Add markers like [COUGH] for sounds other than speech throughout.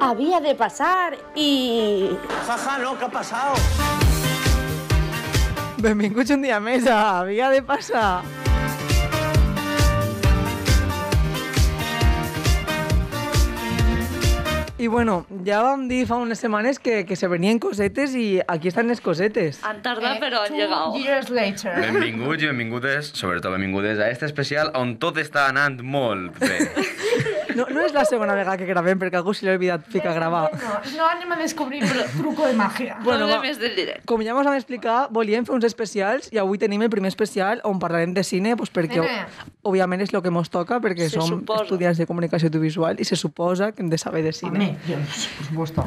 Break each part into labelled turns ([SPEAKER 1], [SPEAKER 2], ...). [SPEAKER 1] había de pasar i...
[SPEAKER 2] Jaja, no, què ha passat?
[SPEAKER 3] Benvinguts un dia més a Havia de passar. I bueno, ja vam dir fa unes setmanes que, que se venien cosetes i aquí estan les cosetes.
[SPEAKER 4] Han tardat, però han llegat.
[SPEAKER 5] years later.
[SPEAKER 6] Benvinguts i benvingudes, sobretot benvingudes a este especial on tot està anant molt bé.
[SPEAKER 3] No, no és la segona vegada que gravem perquè algú se li ha oblidat ficar a gravar.
[SPEAKER 5] No, no anem a descobrir el truco de màgia.
[SPEAKER 3] Bueno,
[SPEAKER 4] Bueno,
[SPEAKER 3] va.
[SPEAKER 4] va. més del directe.
[SPEAKER 3] Com ja us vam explicar, volíem fer uns especials i avui tenim el primer especial on parlarem de cine doncs perquè,
[SPEAKER 5] Nene.
[SPEAKER 3] òbviament, és el que ens toca perquè
[SPEAKER 4] Se
[SPEAKER 3] som
[SPEAKER 4] suposa.
[SPEAKER 3] estudiants de comunicació audiovisual i se suposa que hem de saber de cine.
[SPEAKER 5] Home, jo, per supuesto.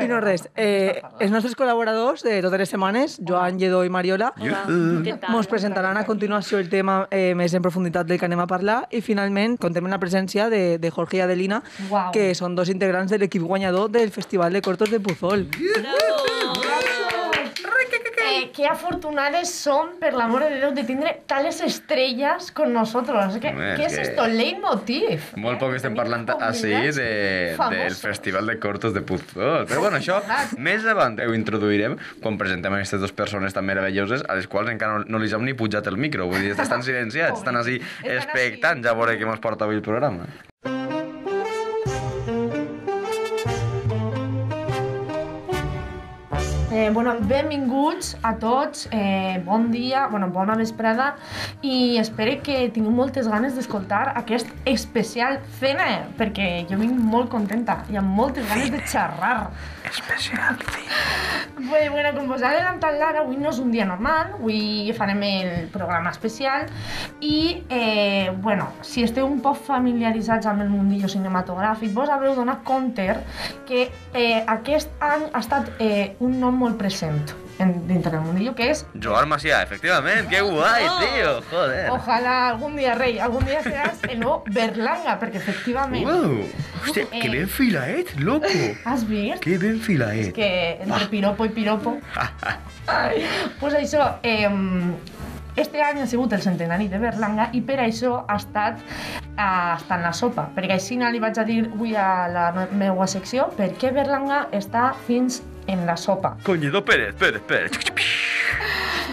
[SPEAKER 3] I no res, eh, els nostres col·laboradors de totes les setmanes, Joan, Lledó i Mariola,
[SPEAKER 4] Hola,
[SPEAKER 5] Eh.
[SPEAKER 4] què tal?
[SPEAKER 3] ens presentaran a continuació el tema eh, més en profunditat del que anem a parlar i finalment contem amb la presència de, de Jorge i Adelina,
[SPEAKER 5] Uau.
[SPEAKER 3] que són dos integrants de l'equip guanyador del Festival de Cortos de Puzol.
[SPEAKER 5] Eh, que afortunades som, per l'amor de Déu, de tindre tales estrelles con nosotros. Que,
[SPEAKER 6] Home,
[SPEAKER 5] què és
[SPEAKER 6] que-
[SPEAKER 5] esto? Leitmotiv.
[SPEAKER 6] Molt poc estem parlant així de, del Festival de Cortos de Puzol. Però bueno, això més avant ho introduirem quan presentem aquestes dues persones tan meravelloses a les quals encara no, no les hem ni pujat el micro. Vull dir, estan silenciats, estan així expectants ja a veure què mos porta avui el programa.
[SPEAKER 5] Eh, bueno, benvinguts a tots, eh, bon dia, bueno, bona vesprada i espero que tingueu moltes ganes d'escoltar aquest especial cena, perquè jo vinc molt contenta i amb moltes ganes de xerrar. Especial Bé, Pues bueno, com vos ha adelantat l'Ara, avui no és un dia normal, avui farem el programa especial i, eh, bueno, si esteu un poc familiaritzats amb el mundillo cinematogràfic, vos haureu donat compte que eh, aquest any ha estat eh, un nom molt present en, dintre del mundillo, que és
[SPEAKER 6] Joan Macià, efectivament, que guai, tio, joder.
[SPEAKER 5] Ojalá algún día, rei, algún día seas el nuevo Berlanga, perquè efectivament...
[SPEAKER 6] Uau, hòstia, que ben filaet, [LAUGHS] loco.
[SPEAKER 5] Has vist?
[SPEAKER 6] Que ben filaet.
[SPEAKER 5] que entre piropo i piropo... Ai, pues això, eh, este any ha sigut el centenari de Berlanga i per això ha estat, ha estat en la sopa, perquè així no li vaig a dir avui a la me- meua secció per què Berlanga està fins en la sopa.
[SPEAKER 6] Conyedo Pérez, Pérez, Pérez.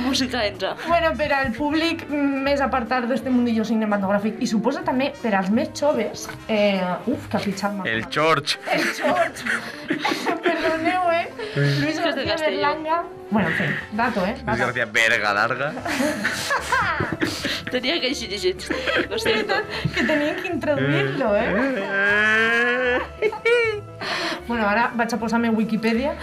[SPEAKER 4] Música entra.
[SPEAKER 5] Bueno, per al públic més apartat d'este mundillo cinematogràfic i suposa també per als més joves, eh, uf, que ha pitjat
[SPEAKER 6] El George.
[SPEAKER 5] El [LAUGHS] George. Perdoneu, eh? Luis
[SPEAKER 4] Hijos de
[SPEAKER 5] García
[SPEAKER 4] Castelló.
[SPEAKER 5] Berlanga. Bueno, en fin, dato, eh?
[SPEAKER 6] Luis
[SPEAKER 5] Dato.
[SPEAKER 6] García, verga
[SPEAKER 5] [LAUGHS]
[SPEAKER 6] larga.
[SPEAKER 4] Tenia que així llegir. Lo siento.
[SPEAKER 5] Que tenien que introduir-lo, eh?
[SPEAKER 6] eh.
[SPEAKER 5] Bueno, ara vaig a posar-me
[SPEAKER 6] [LAUGHS]
[SPEAKER 5] Wikipedia.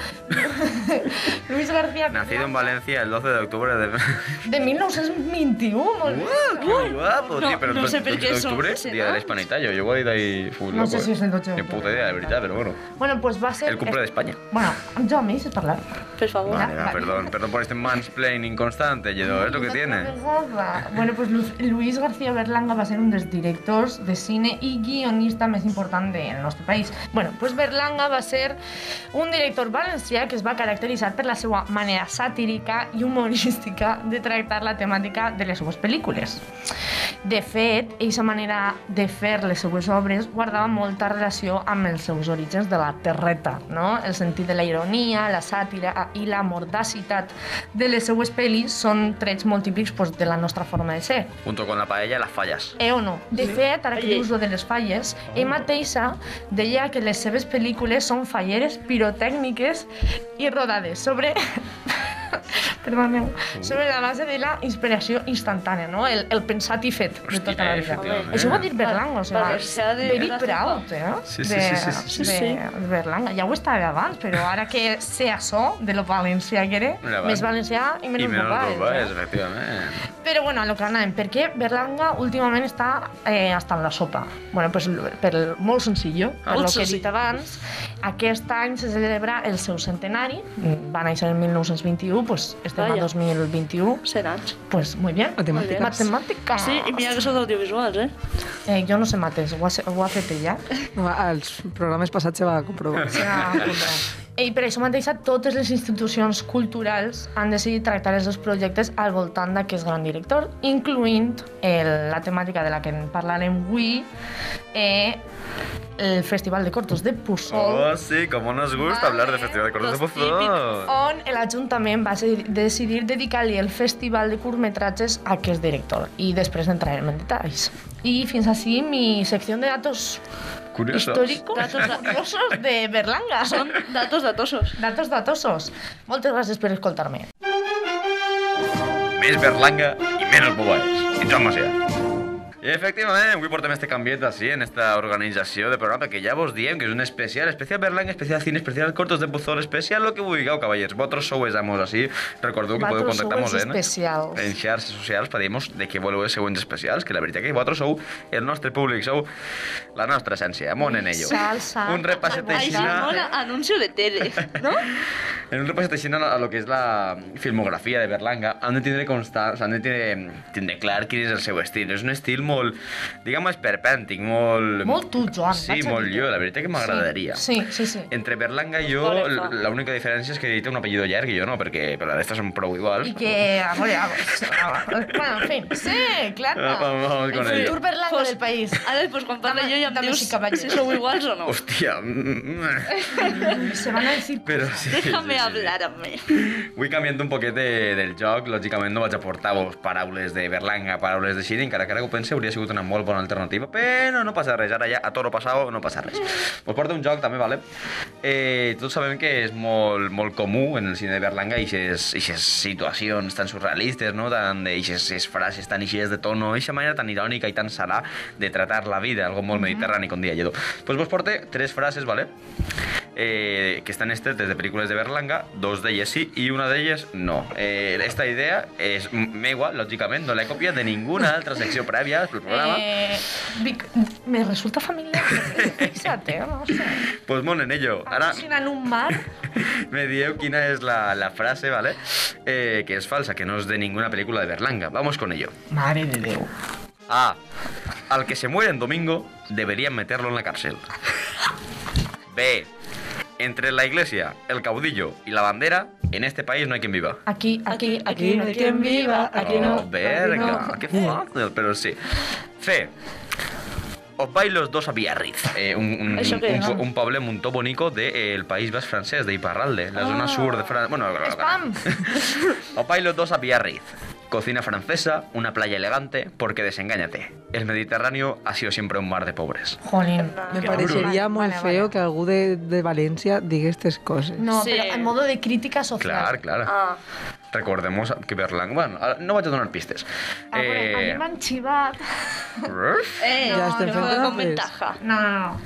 [SPEAKER 5] Luis García
[SPEAKER 6] Nacido en
[SPEAKER 5] Berlanga,
[SPEAKER 6] Valencia el 12 de octubre de... [LAUGHS]
[SPEAKER 5] de 1921, molt bé.
[SPEAKER 6] ¡Qué guapo,
[SPEAKER 4] No,
[SPEAKER 6] tío! Pero
[SPEAKER 4] no
[SPEAKER 6] el
[SPEAKER 4] sé
[SPEAKER 6] 12
[SPEAKER 4] per què
[SPEAKER 6] de
[SPEAKER 4] són
[SPEAKER 6] octubre,
[SPEAKER 4] senats.
[SPEAKER 6] día de la hispanidad. Yo llevo ahí full
[SPEAKER 5] No
[SPEAKER 6] loco,
[SPEAKER 5] sé si
[SPEAKER 6] eh.
[SPEAKER 5] es el 12 de
[SPEAKER 6] Ni
[SPEAKER 5] octubre.
[SPEAKER 6] puta idea, de verdad, pero bueno.
[SPEAKER 5] Bueno, pues va ser...
[SPEAKER 6] El cumple de España.
[SPEAKER 5] Bueno, jo me hice parlar.
[SPEAKER 4] Per favor.
[SPEAKER 6] Vale, va,
[SPEAKER 5] vale.
[SPEAKER 6] perdón, perdón por este mansplaining constante, Yedo, es lo que tiene.
[SPEAKER 5] Vegada. Bueno, pues Lu- Luis García Berlanga va ser un dels directors de cine i guionista més important del nostre país. Bueno, pues Berlanga va ser un director valencià que es va caracteritzar per la seva manera satírica i humorística de tractar la temàtica de les seues pel·lícules. De fet, eixa manera de fer les seues obres guardava molta relació amb els seus orígens de la terreta, no? El sentit de la ironia, la sàtira ah, i la mordacitat de les seues pel·lis són trets molt típics pues, de la nostra forma de ser.
[SPEAKER 6] Junto con la paella, las fallas.
[SPEAKER 5] Eh o no? De fet, ara que
[SPEAKER 4] Oye.
[SPEAKER 5] dius lo de les falles, ell mateixa deia que les seves pel·lícules són falleres pirotècniques i rodades sobre... [LAUGHS] Perdoneu. Sobre la base de la inspiració instantània, no? El, el pensat i fet de
[SPEAKER 6] Hòstia, eh,
[SPEAKER 5] tota la vida.
[SPEAKER 6] efectivament.
[SPEAKER 5] Això ho ha dit Berlanga, o
[SPEAKER 4] Perquè s'ha
[SPEAKER 5] sigui,
[SPEAKER 4] de-
[SPEAKER 5] very
[SPEAKER 4] la
[SPEAKER 5] proud, eh?
[SPEAKER 6] Sí, sí,
[SPEAKER 5] de,
[SPEAKER 6] sí, sí, sí,
[SPEAKER 4] sí.
[SPEAKER 5] De Berlanga. Ja ho estava abans, però ara que sé això, de lo valencià que era,
[SPEAKER 6] Mira, va.
[SPEAKER 5] més valencià i
[SPEAKER 6] Y
[SPEAKER 5] menys
[SPEAKER 6] menos
[SPEAKER 5] bobades.
[SPEAKER 6] ropa,
[SPEAKER 5] eh?
[SPEAKER 6] efectivamente.
[SPEAKER 5] Però bueno, a lo que anàvem, per què Berlanga últimament està eh, hasta en la sopa? Bueno, pues, per, molt senzill, per
[SPEAKER 4] Molt
[SPEAKER 5] lo que he dit
[SPEAKER 4] senzill.
[SPEAKER 5] abans, aquest any se celebra el seu centenari, Mm, va néixer en 1921, pues, estem
[SPEAKER 4] Vaya.
[SPEAKER 5] a 2021,
[SPEAKER 4] Senats.
[SPEAKER 5] pues muy bien.
[SPEAKER 3] Matemàtiques.
[SPEAKER 5] Matemàtica.
[SPEAKER 4] Sí, i mira que són audiovisuals, eh?
[SPEAKER 5] Eh, jo no sé mates, ho, ha, ho ha fet ella.
[SPEAKER 3] No, als programes passats se va
[SPEAKER 6] [LAUGHS]
[SPEAKER 3] comprovar.
[SPEAKER 5] [LAUGHS] I per això mateixa totes les institucions culturals han decidit tractar els dos projectes al voltant d'aquest gran director, incloent el, la temàtica de la que en parlarem avui, eh, el Festival de Cortos de Puçol,
[SPEAKER 6] Oh, sí, como nos gusta hablar de Festival de Cortos de
[SPEAKER 4] Los
[SPEAKER 6] Pozó.
[SPEAKER 5] on l'Ajuntament va ser- decidir dedicar-li el Festival de Curtmetratges a aquest director. I després entrarem en detalls. I fins així mi secció de datos
[SPEAKER 6] Curioso.
[SPEAKER 5] històrics curiosos de Berlanga.
[SPEAKER 4] Son datos datosos.
[SPEAKER 5] Datos datosos. Moltes gràcies per escoltar-me.
[SPEAKER 6] Més Berlanga i menys bobaes. I Joan Macià. I efectivament, avui portem este canviet així en esta organització de programa que ja vos diem que és un especial, especial Berlanga, especial cine, especial cortos de Puzol, especial lo que vulgueu, cavallers. Vosaltres sou els amos així. Recordeu que podeu Eh,
[SPEAKER 5] Vosaltres sou
[SPEAKER 6] contactar-nos
[SPEAKER 5] els
[SPEAKER 6] en...
[SPEAKER 5] especials.
[SPEAKER 6] en xarxes socials per dir-nos de què voleu els següents especials, que la veritat que vosaltres sou el nostre públic, sou la nostra essència, amon en ello.
[SPEAKER 5] Salsa,
[SPEAKER 6] Un repasset
[SPEAKER 5] algo
[SPEAKER 4] Ahí sí,
[SPEAKER 5] així,
[SPEAKER 6] aixina-
[SPEAKER 4] mola anuncio de tele, ¿no?
[SPEAKER 6] en un repasset així a lo que és la filmografia de Berlanga, han de tindre constat, han de tindre, tindre clar quin és el seu estil. És un estil molt, diguem-ho, esperpèntic, molt...
[SPEAKER 5] Molt tu, Joan.
[SPEAKER 6] Sí,
[SPEAKER 5] vaig a
[SPEAKER 6] molt
[SPEAKER 5] dir-te.
[SPEAKER 6] jo, la veritat que m'agradaria.
[SPEAKER 5] Sí, sí, sí. sí.
[SPEAKER 6] Entre Berlanga i jo,
[SPEAKER 4] Correcto.
[SPEAKER 6] l'única diferència és que ell té un apellido llarg i jo no, perquè per la resta són prou iguals.
[SPEAKER 5] I que, a veure, a veure, bueno, en fin, sí, clar.
[SPEAKER 6] Ah, vamos- vamos con
[SPEAKER 5] el
[SPEAKER 6] ello.
[SPEAKER 5] futur Berlanga
[SPEAKER 4] Pues-
[SPEAKER 5] del país.
[SPEAKER 4] Ara després quan parla
[SPEAKER 5] Dame-
[SPEAKER 4] jo ja em
[SPEAKER 5] dame
[SPEAKER 4] dius
[SPEAKER 5] si caballo.
[SPEAKER 4] si sou iguals o no.
[SPEAKER 6] Hòstia,
[SPEAKER 5] [LAUGHS]
[SPEAKER 6] mm, mm,
[SPEAKER 5] Se van a decir...
[SPEAKER 6] però sí.
[SPEAKER 4] Déjame
[SPEAKER 6] sí, sí, sí.
[SPEAKER 4] hablar a mí.
[SPEAKER 6] Vull canviant un poquet de, del joc, lògicament no vaig aportar vos paraules de Berlanga, paraules de Xiri, encara que ara que ho pense hauria sigut una molt bona alternativa, però no passa res, ara ja a toro passado no passa res. Vos porto un joc també, vale? Eh, tots sabem que és molt, molt comú en el cine de Berlanga aquestes situacions tan surrealistes, no? Tan, aquestes frases tan eixides de tono, aquesta manera tan irònica i tan salà de tratar la vida, algo molt mediterrani, com diria Lledó. Pues vos porte tres frases, vale? eh, que están estretes de películas de Berlanga, dos de ellas sí y una de ellas no. Eh, esta idea es megua, lógicamente, no la he copiado de ninguna otra sección previa del programa.
[SPEAKER 5] Eh, Vic, me resulta familiar, fíjate, no sé.
[SPEAKER 6] Pues mon en ello. Ahora [LAUGHS]
[SPEAKER 5] Alucinan un mar.
[SPEAKER 6] me dieu quina es la, la frase, ¿vale? Eh, que es falsa, que no es de ninguna película de Berlanga. Vamos con ello.
[SPEAKER 5] Mare de Déu.
[SPEAKER 6] A. Al que se muere en domingo, deberían meterlo en la cárcel. B. Entre la iglesia, el caudillo y la bandera, en este país no hay quien viva.
[SPEAKER 5] Aquí, aquí, aquí.
[SPEAKER 3] Aquí no hay quien viva, aquí no.
[SPEAKER 6] Oh, verga,
[SPEAKER 3] aquí
[SPEAKER 6] qué fácil, pero sí. C. Os vais los dos a Biarritz. Eh, un, un,
[SPEAKER 4] Això què
[SPEAKER 6] un-
[SPEAKER 4] és?
[SPEAKER 6] un- un poble molt bonico del de, eh, el País Bas francès, de Iparralde, la zona sur de Francia. Bueno,
[SPEAKER 5] Ah. Spam.
[SPEAKER 6] os vais los dos a Biarritz. Cocina francesa, una playa elegante, porque desengáñate. El Mediterráneo ha sido siempre un mar de pobres.
[SPEAKER 5] Jolín.
[SPEAKER 3] Me
[SPEAKER 6] Qué
[SPEAKER 3] parecería
[SPEAKER 5] duro.
[SPEAKER 3] muy
[SPEAKER 5] Vale, vale.
[SPEAKER 3] feo que algú de, de Valencia diga estas cosas.
[SPEAKER 5] No,
[SPEAKER 4] Sí.
[SPEAKER 5] pero en modo de crítica
[SPEAKER 6] Claro,
[SPEAKER 5] social.
[SPEAKER 6] claro.
[SPEAKER 4] Ah,
[SPEAKER 6] Recordemos que Berlanga... Bueno, ara no vaig a donar pistes.
[SPEAKER 5] Ah, A
[SPEAKER 6] eh,
[SPEAKER 5] veure, a mi m'han xivat.
[SPEAKER 4] eh,
[SPEAKER 3] Ja estem fent
[SPEAKER 4] juego con
[SPEAKER 3] trampes.
[SPEAKER 4] ventaja.
[SPEAKER 5] No, no, no.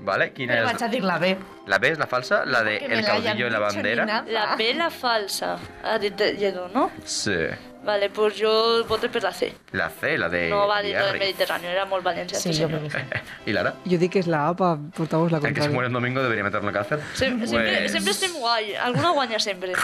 [SPEAKER 6] vale, quina
[SPEAKER 5] Però
[SPEAKER 6] és?
[SPEAKER 5] vaig a dir la B.
[SPEAKER 6] La B és la falsa, la de
[SPEAKER 5] Que me
[SPEAKER 6] El
[SPEAKER 5] la hayan
[SPEAKER 6] caudillo y la
[SPEAKER 5] dicho ni
[SPEAKER 6] bandera.
[SPEAKER 5] nada.
[SPEAKER 4] La vela falsa. Ha dit Lledó, no?
[SPEAKER 6] Sí.
[SPEAKER 4] Vale, pues jo voto per la C.
[SPEAKER 6] La C, la de
[SPEAKER 4] No va dir lo del
[SPEAKER 6] Biarritz.
[SPEAKER 4] Mediterráneo, era molt València.
[SPEAKER 5] Eh, Sí,
[SPEAKER 4] este
[SPEAKER 5] jo
[SPEAKER 4] senyor.
[SPEAKER 5] crec que sí.
[SPEAKER 6] [LAUGHS] ¿Y Lara?
[SPEAKER 3] Yo di que es la APA, portamos la
[SPEAKER 6] El que se
[SPEAKER 3] contraria.
[SPEAKER 6] muere el domingo debería meterlo en cárcel.
[SPEAKER 4] Sem sempre,
[SPEAKER 6] Pues-
[SPEAKER 4] sempre estem guai, alguna guanya sempre.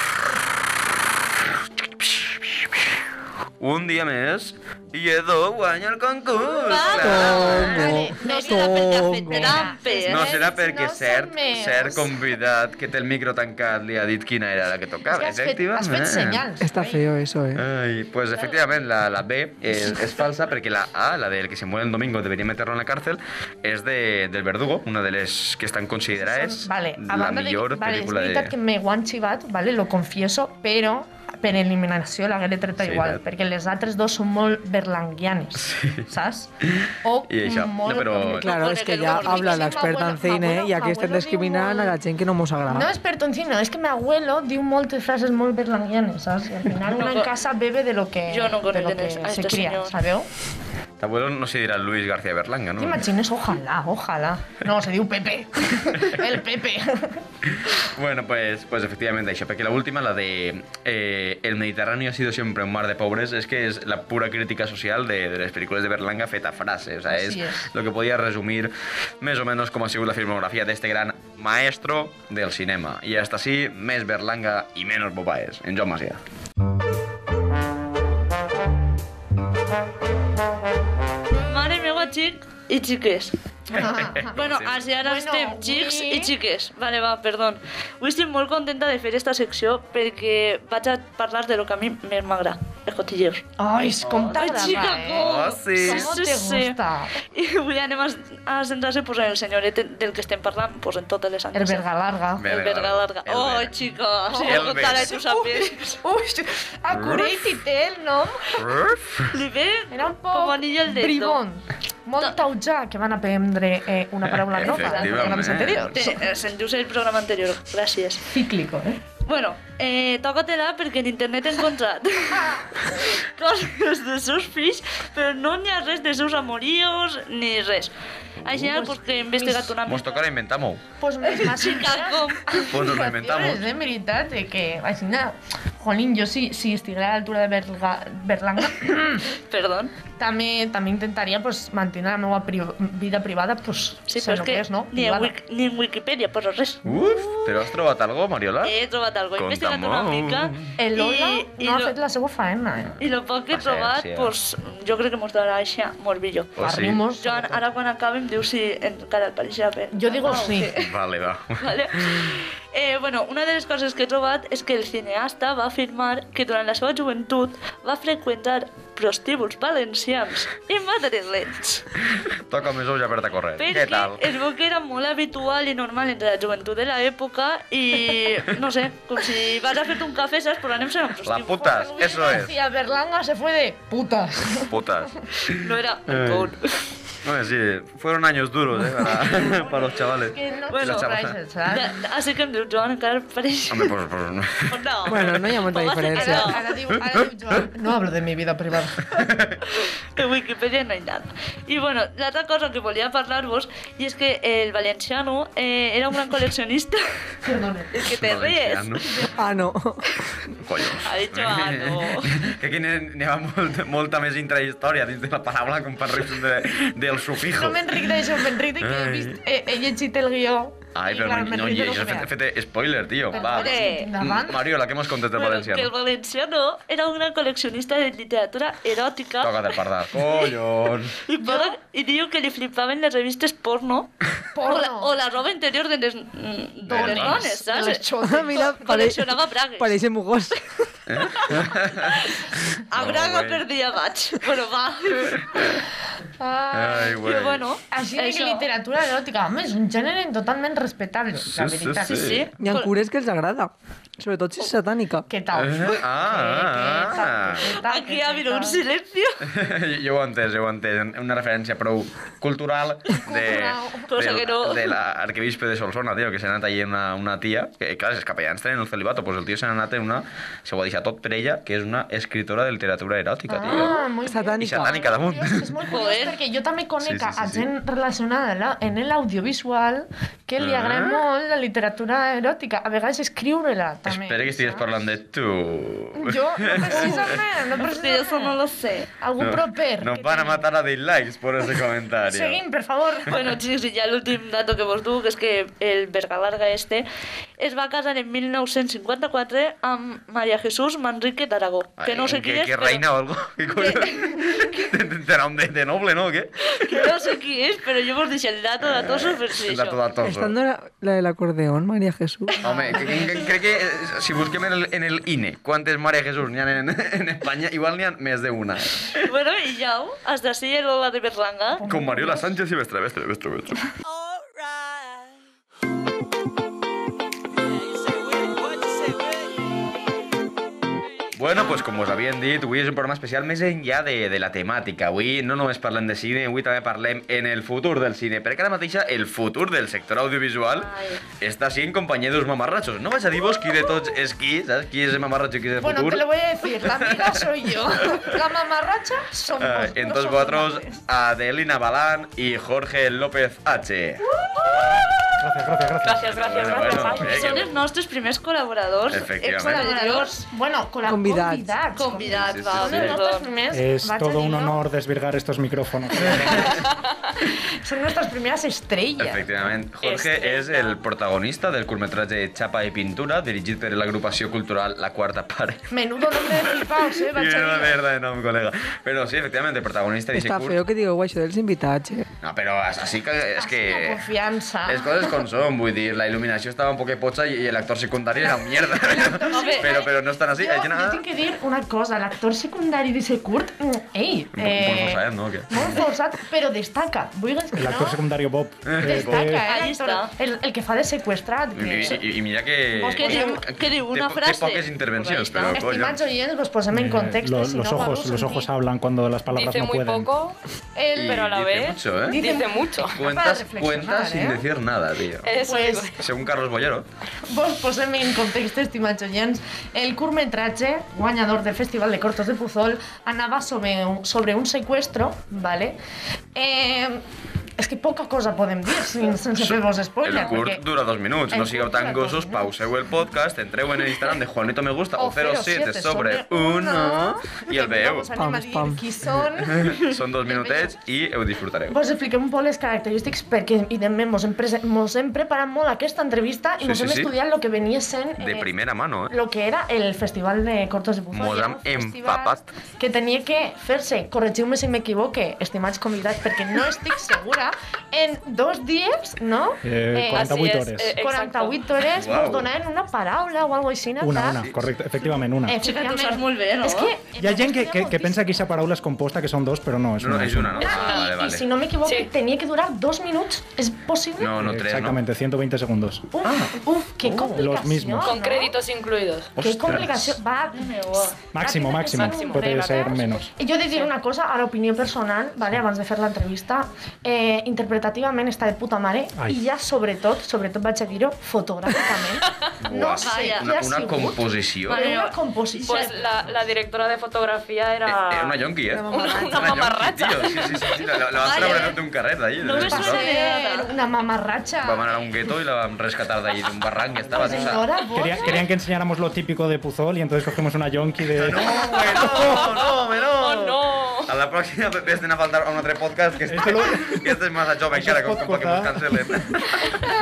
[SPEAKER 6] Un día mes y Edo guaña el concurso.
[SPEAKER 3] Tomo,
[SPEAKER 4] No serà perquè ha fet
[SPEAKER 3] tomo.
[SPEAKER 4] trampes.
[SPEAKER 6] No serà
[SPEAKER 5] No
[SPEAKER 6] perquè
[SPEAKER 5] són
[SPEAKER 6] cert,
[SPEAKER 5] meus.
[SPEAKER 6] cert convidat que té el micro tancat li ha dit quina era la que tocava,
[SPEAKER 5] És que has fet, has fet senyals.
[SPEAKER 3] Está feo eso, eh.
[SPEAKER 6] Ay, pues efectivamente la, la B es, es falsa porque la A, la del que se muere el domingo debería meterlo en la cárcel, es de, del verdugo, una de las que están consideradas
[SPEAKER 5] Vale, a
[SPEAKER 6] la
[SPEAKER 5] banda de...
[SPEAKER 6] mejor
[SPEAKER 5] Vale, és
[SPEAKER 6] película
[SPEAKER 5] veritat
[SPEAKER 6] de...
[SPEAKER 5] que me ho han xivat, vale, lo confieso, però per eliminació l'hagué treta
[SPEAKER 6] Sí,
[SPEAKER 5] igual,
[SPEAKER 6] tal.
[SPEAKER 5] perquè les altres dos són molt berlanguianes, saps? O
[SPEAKER 6] [LAUGHS] I això, no,
[SPEAKER 5] molt...
[SPEAKER 6] però-
[SPEAKER 3] Claro,
[SPEAKER 4] Porque
[SPEAKER 3] es que
[SPEAKER 4] creo
[SPEAKER 3] ya
[SPEAKER 4] que los
[SPEAKER 3] habla
[SPEAKER 5] ricos
[SPEAKER 3] la
[SPEAKER 5] dicen,
[SPEAKER 3] experta en
[SPEAKER 5] "Abuelo,
[SPEAKER 3] cine
[SPEAKER 5] abuelo,
[SPEAKER 3] y aquí estem
[SPEAKER 5] abuelo,
[SPEAKER 3] discriminant a
[SPEAKER 5] diu-
[SPEAKER 3] la gent que no mos
[SPEAKER 5] ah, No
[SPEAKER 3] agrada.
[SPEAKER 5] es pertoncino, es que mi abuelo dio muchas frases muy berlanguianes, ¿sabes? Y al final
[SPEAKER 4] No
[SPEAKER 5] una en
[SPEAKER 4] co-
[SPEAKER 5] casa bebe de lo que,
[SPEAKER 4] Yo no
[SPEAKER 5] de lo que
[SPEAKER 4] conozco a
[SPEAKER 5] se
[SPEAKER 4] este
[SPEAKER 5] cría,
[SPEAKER 4] señor.
[SPEAKER 5] ¿sabeu?
[SPEAKER 6] Tu abuelo no se dirá Luis García Berlanga, ¿no?
[SPEAKER 5] ¿Te imaginas? Ojalá, ojalá. No, se dio Pepe. [LAUGHS] El Pepe.
[SPEAKER 6] Bueno, pues, pues efectivamente això, perquè l'última, la de eh, El Mediterráneo ha sido siempre un mar de pobres, és que és la pura crítica social de, de les pel·lícules de Berlanga feta a frase, o sea, és,
[SPEAKER 5] Así es.
[SPEAKER 6] lo que podia resumir més o menos com ha sigut la filmografia d'este gran maestro del cinema. I hasta així, més Berlanga i menys Bobaes, en Joan Macià.
[SPEAKER 4] eh? Mare meva, xic i xiques. [LAUGHS] bueno,
[SPEAKER 6] sempre.
[SPEAKER 4] així ara
[SPEAKER 5] Ah, Bueno,
[SPEAKER 4] estem xics
[SPEAKER 5] avui-
[SPEAKER 4] i xiques. Vale, va, perdó. Avui estic molt contenta de fer esta secció perquè vaig a parlar de lo que a mi més m'agrada, cotilleos.
[SPEAKER 5] Ai, com t'agrada,
[SPEAKER 4] chica,
[SPEAKER 5] eh?
[SPEAKER 6] Oh, sí.
[SPEAKER 5] Com
[SPEAKER 4] Sí,
[SPEAKER 5] te
[SPEAKER 4] sí.
[SPEAKER 5] gusta.
[SPEAKER 4] I avui anem a, a centrar-se pues, en el senyoret del que estem parlant pues, en totes les
[SPEAKER 5] El
[SPEAKER 4] antes.
[SPEAKER 5] verga larga.
[SPEAKER 4] El verga larga.
[SPEAKER 6] El
[SPEAKER 4] Oh,
[SPEAKER 6] verga.
[SPEAKER 4] chica, si
[SPEAKER 6] El
[SPEAKER 4] no contara
[SPEAKER 6] verga.
[SPEAKER 4] i tu sapies.
[SPEAKER 5] Ui, acurell i té el nom.
[SPEAKER 6] Uf.
[SPEAKER 4] Li ve
[SPEAKER 5] Era un poc
[SPEAKER 4] com anillo al dedo.
[SPEAKER 5] bribon. Molt taujà, que van aprendre eh, una paraula nova dels
[SPEAKER 6] Efectivament.
[SPEAKER 5] programes anteriors.
[SPEAKER 4] Te- eh, Se'n diu el programa anterior, gràcies.
[SPEAKER 5] Cíclico, eh?
[SPEAKER 4] Bueno, eh, toca-te-la perquè en internet he
[SPEAKER 5] [LAUGHS]
[SPEAKER 4] encontrat coses dels seus fills, però no n'hi ha res dels seus amorios ni res. Així uh, pues, que he investigat una
[SPEAKER 6] Mos
[SPEAKER 4] mica.
[SPEAKER 6] tocarà inventar-ho.
[SPEAKER 5] Pues més
[SPEAKER 4] Chica,
[SPEAKER 5] massa. [LAUGHS]
[SPEAKER 4] com...
[SPEAKER 6] Pues nos lo inventamos.
[SPEAKER 5] eh? És de veritat, eh, que, així, na, jolín, jo si, si estiguera a l'altura de Berga, Berlanga,
[SPEAKER 4] Perdón.
[SPEAKER 5] també, també intentaria pues, mantenir la meva pri vida privada, pues,
[SPEAKER 4] Sí,
[SPEAKER 5] sé
[SPEAKER 4] però és
[SPEAKER 5] lo
[SPEAKER 4] que
[SPEAKER 5] que és, no?
[SPEAKER 4] ni, en
[SPEAKER 5] Privada.
[SPEAKER 4] wik, ni en Wikipedia poso res.
[SPEAKER 6] Uf. Però has trobat algo, Mariola?
[SPEAKER 4] He trobat alguna cosa, he investigat una
[SPEAKER 6] Conta-m'ho.
[SPEAKER 4] mica.
[SPEAKER 5] El Lola
[SPEAKER 4] i,
[SPEAKER 5] no ha
[SPEAKER 4] lo-
[SPEAKER 5] fet la seva faena, eh?
[SPEAKER 4] I el poc que he
[SPEAKER 6] Paciència.
[SPEAKER 4] trobat, pues, jo crec que mos donarà això molt millor.
[SPEAKER 6] Oh, sí.
[SPEAKER 5] Parlimos.
[SPEAKER 4] Joan, ara quan acabi em diu si encara et pareix la pena.
[SPEAKER 5] Jo digo
[SPEAKER 4] Ah,
[SPEAKER 5] sí.
[SPEAKER 4] ok.
[SPEAKER 6] Vale, va.
[SPEAKER 4] Vale. Eh, bueno, una de les coses que he trobat és que el cineasta va afirmar que durant la seva joventut va freqüentar prostíbuls valencians i madrilenys
[SPEAKER 6] Toca més ulls obert a córrer. [LAUGHS] Què
[SPEAKER 4] perquè
[SPEAKER 6] tal?
[SPEAKER 4] es veu que era molt habitual i normal entre la joventut de l'època i, no sé, com si vas a fer un cafè, saps? Però anem a un
[SPEAKER 6] La
[SPEAKER 4] prostíbul.
[SPEAKER 6] putas, eso es.
[SPEAKER 5] Si a Berlanga se fue de putas.
[SPEAKER 6] Putas.
[SPEAKER 4] No era alcohol.
[SPEAKER 6] Bueno, sí, fueron años duros, eh,
[SPEAKER 4] [LAUGHS]
[SPEAKER 6] para, [LAUGHS] para los chavales.
[SPEAKER 5] Que no
[SPEAKER 4] Bueno,
[SPEAKER 5] bueno,
[SPEAKER 6] ¿eh?
[SPEAKER 4] De,
[SPEAKER 5] ¿sabes?
[SPEAKER 4] així que em diu, Joan, encara pareix...
[SPEAKER 6] Hombre, pues, pues,
[SPEAKER 4] O [LAUGHS] No.
[SPEAKER 3] Bueno, no hi ha molta
[SPEAKER 4] Pues va ser que
[SPEAKER 3] diferència.
[SPEAKER 4] no.
[SPEAKER 5] Ahora digo, ahora digo Joan, no hablo de mi vida privada.
[SPEAKER 4] En Wikipedia no hi ha nada. I bueno, l'altra cosa que volia parlar-vos i és que el valenciano eh, era un gran col·leccionista.
[SPEAKER 6] [LAUGHS]
[SPEAKER 5] Perdone.
[SPEAKER 4] és que te ries.
[SPEAKER 6] valenciano.
[SPEAKER 3] [LAUGHS] Ah,
[SPEAKER 5] [LAUGHS]
[SPEAKER 3] no.
[SPEAKER 6] Collos.
[SPEAKER 4] Ha
[SPEAKER 6] [LAUGHS]
[SPEAKER 4] dicho algo.
[SPEAKER 6] que aquí n'hi n'hi ha molt, molta més intrahistòria dins de la paraula com per riure de, del sufijo.
[SPEAKER 5] No me enric d'això, me enric de que he, vist, he, he llegit el guió. i,
[SPEAKER 6] Ai, però
[SPEAKER 5] clar,
[SPEAKER 6] no,
[SPEAKER 5] me'n
[SPEAKER 6] no,
[SPEAKER 5] ric de
[SPEAKER 6] i
[SPEAKER 5] lo
[SPEAKER 6] això
[SPEAKER 5] que
[SPEAKER 6] he
[SPEAKER 5] veig.
[SPEAKER 6] fet spoiler, tio.
[SPEAKER 5] Però,
[SPEAKER 6] Va. Mm,
[SPEAKER 5] hombre, endavant.
[SPEAKER 6] Mariola, què mos contes del
[SPEAKER 4] Bueno, que el
[SPEAKER 6] valenciano?
[SPEAKER 4] valenciano era un gran col·leccionista de literatura eròtica
[SPEAKER 6] Toca de
[SPEAKER 4] [LAUGHS]
[SPEAKER 6] pardal. Collons.
[SPEAKER 4] i, poden, i diu que li flipaven les revistes porno,
[SPEAKER 5] Porno.
[SPEAKER 4] O, la, o la roba interior de les, mm, de les
[SPEAKER 6] les
[SPEAKER 4] dones,
[SPEAKER 5] De les
[SPEAKER 4] saps?
[SPEAKER 5] xotes.
[SPEAKER 3] Ah, Mira,
[SPEAKER 4] Col·leccionava bragues.
[SPEAKER 3] pareixen
[SPEAKER 5] [LAUGHS]
[SPEAKER 3] mugós.
[SPEAKER 4] A braga
[SPEAKER 6] Oh,
[SPEAKER 4] per dia
[SPEAKER 5] [LAUGHS]
[SPEAKER 4] vaig, però va.
[SPEAKER 5] Ai.
[SPEAKER 6] Ai,
[SPEAKER 4] I
[SPEAKER 6] güey.
[SPEAKER 4] Ah, bueno,
[SPEAKER 5] Així de que
[SPEAKER 4] això.
[SPEAKER 5] literatura eròtica, home, és un gènere totalment respectable, la
[SPEAKER 6] Sí, sí,
[SPEAKER 5] veritat.
[SPEAKER 6] sí.
[SPEAKER 4] Sí,
[SPEAKER 3] Hi ha cures que els agrada. Sobretot si és satànica.
[SPEAKER 5] Què tal?
[SPEAKER 6] Eh,
[SPEAKER 5] Què,
[SPEAKER 6] ah,
[SPEAKER 5] què
[SPEAKER 6] ah.
[SPEAKER 5] tal? Què tal?
[SPEAKER 4] Aquí
[SPEAKER 5] Què
[SPEAKER 4] ha habido un
[SPEAKER 5] tal?
[SPEAKER 4] silencio.
[SPEAKER 6] [LAUGHS] Jo ho he entès, jo ho he entès. Una referència prou cultural de,
[SPEAKER 4] Cosa que no.
[SPEAKER 6] de l'arquebispe de Solsona, tio, que s'ha anat allà una, una tia, que clar, els capellans tenen el celibato, pues el tio se n'ha anat en una, se ho ha deixat tot per ella, que és una escritora de literatura eròtica, tio.
[SPEAKER 5] Ah, muy bien.
[SPEAKER 6] I
[SPEAKER 3] Satànica.
[SPEAKER 6] satànica damunt.
[SPEAKER 5] És
[SPEAKER 6] [LAUGHS]
[SPEAKER 5] molt curiós
[SPEAKER 4] Joder.
[SPEAKER 5] perquè jo també conec
[SPEAKER 6] Sí, sí, sí,
[SPEAKER 5] a
[SPEAKER 6] sí.
[SPEAKER 5] gent relacionada la- en l'audiovisual que li agrada
[SPEAKER 6] Ah.
[SPEAKER 5] molt la literatura eròtica. A vegades escriure-la també.
[SPEAKER 6] Espera que estigués
[SPEAKER 5] saps?
[SPEAKER 6] parlant de tu.
[SPEAKER 5] Jo,
[SPEAKER 6] [LAUGHS]
[SPEAKER 5] no precisament, no
[SPEAKER 4] Hostia, eso no
[SPEAKER 5] precisament.
[SPEAKER 4] lo sé.
[SPEAKER 5] Algú proper.
[SPEAKER 6] Nos
[SPEAKER 5] que
[SPEAKER 6] van a
[SPEAKER 5] tingui.
[SPEAKER 6] matar a dislikes por ese comentario.
[SPEAKER 5] Seguim, per favor.
[SPEAKER 4] Bueno, chicos, y ya el último dato que vos duc és que el Bergalarga este es va casar en 1954 amb Maria Jesús Manrique d'Aragó, que no sé qui
[SPEAKER 6] que,
[SPEAKER 4] és,
[SPEAKER 6] que
[SPEAKER 4] però-
[SPEAKER 6] reina o algo. [LAUGHS] Que collons. Té nom de, de noble, no? o Què?
[SPEAKER 4] que [LAUGHS] no sé qui és, però jo vos deixo el dato de tots els
[SPEAKER 6] Eh, El
[SPEAKER 4] versos.
[SPEAKER 6] dato datoso.
[SPEAKER 3] Està en la, la de l'acordeón, Maria Jesús.
[SPEAKER 6] Home, que- que- que- crec que eh, si busquem en el, en el INE quantes Mare Jesús n'hi ha en, en Espanya, igual n'hi ha més d'una.
[SPEAKER 4] Bueno, i ja, hasta d'ací el Lola de Berlanga.
[SPEAKER 6] Com Mariola Sánchez i Bestre, Bestre, Bestre, Bestre. Bueno, pues com us havien dit, avui és un programa especial més enllà de, de la temàtica. Avui no només parlem de cine, avui també parlem en el futur del cine, perquè ara mateix el futur del sector audiovisual
[SPEAKER 4] Ai.
[SPEAKER 6] està sent companyia d'uns mamarratxos. No vaig a dir-vos qui de tots és qui, saps? Qui és el mamarratxo i qui és el
[SPEAKER 5] Bueno,
[SPEAKER 6] futur.
[SPEAKER 5] te lo voy a decir. La amiga soy yo. La mamarracha somos.
[SPEAKER 6] Eh,
[SPEAKER 5] no
[SPEAKER 6] entonces
[SPEAKER 5] somos
[SPEAKER 6] vosotros,
[SPEAKER 5] madres.
[SPEAKER 6] Adelina Balán y Jorge López H.
[SPEAKER 4] Gràcies, gràcies,
[SPEAKER 6] Bueno,
[SPEAKER 4] gràcies.
[SPEAKER 6] bueno,
[SPEAKER 4] Ai,
[SPEAKER 6] eh,
[SPEAKER 4] Són
[SPEAKER 6] que-
[SPEAKER 4] els nostres primers col·laboradors.
[SPEAKER 6] Efectivament.
[SPEAKER 4] Ex-col·laboradors.
[SPEAKER 5] Bueno, con la
[SPEAKER 3] Convidats.
[SPEAKER 5] convidats.
[SPEAKER 4] Convidats, Doncs, va,
[SPEAKER 6] Sí, sí, sí.
[SPEAKER 5] Uno de
[SPEAKER 4] perdó.
[SPEAKER 5] nuestros primeros,
[SPEAKER 7] Es
[SPEAKER 5] vaig a
[SPEAKER 7] todo un
[SPEAKER 5] dir-ho.
[SPEAKER 7] honor desvirgar estos micrófonos.
[SPEAKER 5] Son nuestras primeras estrellas.
[SPEAKER 6] Efectivament. Jorge
[SPEAKER 4] Estrella.
[SPEAKER 6] és el protagonista del curtmetratge Xapa i Pintura, dirigit per l'agrupació cultural La Quarta Part.
[SPEAKER 5] Menudo nombre de flipaos, eh,
[SPEAKER 6] I una
[SPEAKER 5] Bachadilla.
[SPEAKER 6] merda de nom, col·lega. Però sí, efectivament, el protagonista d'Ixe
[SPEAKER 3] Està feo
[SPEAKER 6] curt...
[SPEAKER 3] que digueu això dels invitats, eh?
[SPEAKER 6] No, però així que... És que...
[SPEAKER 5] La confiança.
[SPEAKER 6] Les coses com són, vull dir, la il·luminació estava un poquet potxa i, i l'actor secundari era mierda. però, però no estan així.
[SPEAKER 5] Jo,
[SPEAKER 6] Hay gent-
[SPEAKER 5] jo tinc que dir una cosa, l'actor secundari de ser curt, mm, ei...
[SPEAKER 6] Un po- un poc forçat, no? Que-
[SPEAKER 5] eh, Molt forçat, però destaca. Vulguis que
[SPEAKER 2] El actor
[SPEAKER 5] no,
[SPEAKER 2] secundario Bob.
[SPEAKER 5] destaca, eh?
[SPEAKER 4] Ahí
[SPEAKER 5] l'actor-
[SPEAKER 4] està.
[SPEAKER 5] El, el que fa de seqüestrat.
[SPEAKER 6] I,
[SPEAKER 5] Que...
[SPEAKER 6] i, i mira que...
[SPEAKER 5] Vos que diu-
[SPEAKER 4] que diu una
[SPEAKER 6] té, po-
[SPEAKER 4] frase.
[SPEAKER 6] Té poques intervencions,
[SPEAKER 4] Por ahí
[SPEAKER 6] però...
[SPEAKER 4] está.
[SPEAKER 6] Coño.
[SPEAKER 5] Estimados oyentes, vos posem en contexto.
[SPEAKER 2] Eh, Lo-
[SPEAKER 5] si
[SPEAKER 2] los
[SPEAKER 5] no,
[SPEAKER 2] ojos,
[SPEAKER 5] Gabru,
[SPEAKER 2] los ojos
[SPEAKER 5] sentí-
[SPEAKER 2] hablan cuando las palabras
[SPEAKER 7] Dice
[SPEAKER 2] no
[SPEAKER 7] muy
[SPEAKER 2] pueden.
[SPEAKER 7] poco,
[SPEAKER 5] Él,
[SPEAKER 6] Y
[SPEAKER 7] pero a la
[SPEAKER 6] dice
[SPEAKER 7] vez
[SPEAKER 6] mucho, ¿eh?
[SPEAKER 7] dice mucho.
[SPEAKER 6] Cuentas,
[SPEAKER 5] reflexionar,
[SPEAKER 6] cuentas sin
[SPEAKER 5] ¿eh?
[SPEAKER 6] decir nada, tío.
[SPEAKER 7] Eso
[SPEAKER 5] Pues,
[SPEAKER 7] es.
[SPEAKER 6] Según Carlos Bollero.
[SPEAKER 5] vos posem en contexto, estimats oients, el curtmetratge, guanyador del Festival de Cortos de Puzol, anava sobre un, sobre un secuestro, ¿vale? Eh, és que poca cosa podem dir sin, sense fer-vos spoiler.
[SPEAKER 6] el curt
[SPEAKER 5] perquè-
[SPEAKER 6] dura dos minuts.
[SPEAKER 5] el
[SPEAKER 6] No sigueu
[SPEAKER 5] curt
[SPEAKER 6] tan
[SPEAKER 5] dura dos
[SPEAKER 6] gossos,
[SPEAKER 5] minuts.
[SPEAKER 6] pauseu el podcast, entreu en el Instagram de Juanito Me Gusta o
[SPEAKER 5] O
[SPEAKER 6] 07
[SPEAKER 5] 07
[SPEAKER 6] sobre
[SPEAKER 5] sobre
[SPEAKER 6] 1 i el veieu.
[SPEAKER 5] Vos anem a
[SPEAKER 3] Pam,
[SPEAKER 5] dir
[SPEAKER 3] pam.
[SPEAKER 5] qui són,
[SPEAKER 2] [LAUGHS]
[SPEAKER 6] Són dos minutets i ho disfrutareu.
[SPEAKER 5] Vos expliquem un poc les característiques perquè, evidentment, mos hem, prese- mos hem preparat molt aquesta entrevista i
[SPEAKER 6] Sí,
[SPEAKER 5] mos
[SPEAKER 6] sí,
[SPEAKER 5] hem
[SPEAKER 6] sí.
[SPEAKER 5] estudiat lo que venia sent...
[SPEAKER 6] De primera mano, eh?
[SPEAKER 5] Lo que era el Festival de Cortos de Bufó.
[SPEAKER 6] Mos
[SPEAKER 5] Era un
[SPEAKER 6] hem
[SPEAKER 5] festival
[SPEAKER 6] empapat.
[SPEAKER 5] Que tenia que fer-se, corregiu-me si m'equivoque, estimats convidats, perquè no estic segura, en dos dies, no?
[SPEAKER 2] Eh,
[SPEAKER 5] Eh,
[SPEAKER 7] Así
[SPEAKER 2] 48
[SPEAKER 7] es,
[SPEAKER 2] horas.
[SPEAKER 7] eh, exacto.
[SPEAKER 5] 48 hores,
[SPEAKER 6] Guau.
[SPEAKER 5] mos donaven una paraula o alguna cosa així. Eh,
[SPEAKER 2] Una, una, correcto, efectivamente, una.
[SPEAKER 4] Sí que tu saps molt bé, no?
[SPEAKER 5] És que...
[SPEAKER 2] Y hay gente que, que, que piensa que esa parábola es compuesta, que son dos, pero no, es
[SPEAKER 6] No,
[SPEAKER 2] una.
[SPEAKER 6] no, és una, no? Ah, vale,
[SPEAKER 5] Y si
[SPEAKER 6] vale.
[SPEAKER 5] no me equivoco,
[SPEAKER 7] Sí.
[SPEAKER 5] tenía que durar dos minutos. ¿Es posible?
[SPEAKER 6] No, no, tres, no?
[SPEAKER 2] Exactamente, 120 segundos.
[SPEAKER 5] Uf, uf, qué complicación.
[SPEAKER 2] Ah. Oh, los mismos.
[SPEAKER 7] Con
[SPEAKER 5] ¿no?
[SPEAKER 7] créditos incluidos.
[SPEAKER 5] Qué
[SPEAKER 6] Ostras.
[SPEAKER 5] complicación. Va.
[SPEAKER 2] Máximo, máximo.
[SPEAKER 7] Máximo.
[SPEAKER 2] Puede
[SPEAKER 7] Venga,
[SPEAKER 2] ser
[SPEAKER 7] venga.
[SPEAKER 2] menos.
[SPEAKER 5] Jo he de dir una cosa a l'opinió personal, vale, abans de fer l'entrevista. Eh, interpretativament està de puta mare
[SPEAKER 2] Ai.
[SPEAKER 5] i ja sobretot, sobretot vaig a dir-ho,
[SPEAKER 2] [LAUGHS]
[SPEAKER 5] fotogràficament. no
[SPEAKER 6] Buah,
[SPEAKER 5] sé
[SPEAKER 4] Vaya.
[SPEAKER 5] qui
[SPEAKER 6] Una,
[SPEAKER 5] ha
[SPEAKER 6] una
[SPEAKER 5] sigut,
[SPEAKER 6] composició.
[SPEAKER 5] però
[SPEAKER 6] Eh,
[SPEAKER 5] una composició.
[SPEAKER 7] Pues la, la directora de fotografía
[SPEAKER 6] Era una
[SPEAKER 7] era...
[SPEAKER 6] yonqui, eh?
[SPEAKER 3] Una
[SPEAKER 6] Una
[SPEAKER 7] mamarracha. Una
[SPEAKER 6] yonqui,
[SPEAKER 7] mamarracha.
[SPEAKER 6] tío. Sí, sí, sí. sí. La, la vas
[SPEAKER 4] Vale.
[SPEAKER 6] treure d'un carrer d'ahir.
[SPEAKER 4] No me
[SPEAKER 5] Va
[SPEAKER 4] suena.
[SPEAKER 5] ser una mamarratxa.
[SPEAKER 6] Vam anar a un gueto i la vam rescatar d'ahir d'un barranc que estava... o sea,
[SPEAKER 5] Enhorabona.
[SPEAKER 2] Quería- querían que enseñáramos lo típico de Puzol y entonces cogimos una yonki
[SPEAKER 6] [LAUGHS]
[SPEAKER 2] de.
[SPEAKER 6] No, güey, no, no, me no.
[SPEAKER 7] Oh, no.
[SPEAKER 6] A la pròxima vés d'anar a faltar a un altre podcast que, este,
[SPEAKER 2] Esto lo-
[SPEAKER 6] [LAUGHS] que este és massa jove
[SPEAKER 2] Això
[SPEAKER 6] encara
[SPEAKER 2] es
[SPEAKER 6] com,
[SPEAKER 2] pot
[SPEAKER 6] com que mos
[SPEAKER 2] cortar.
[SPEAKER 6] cancelen.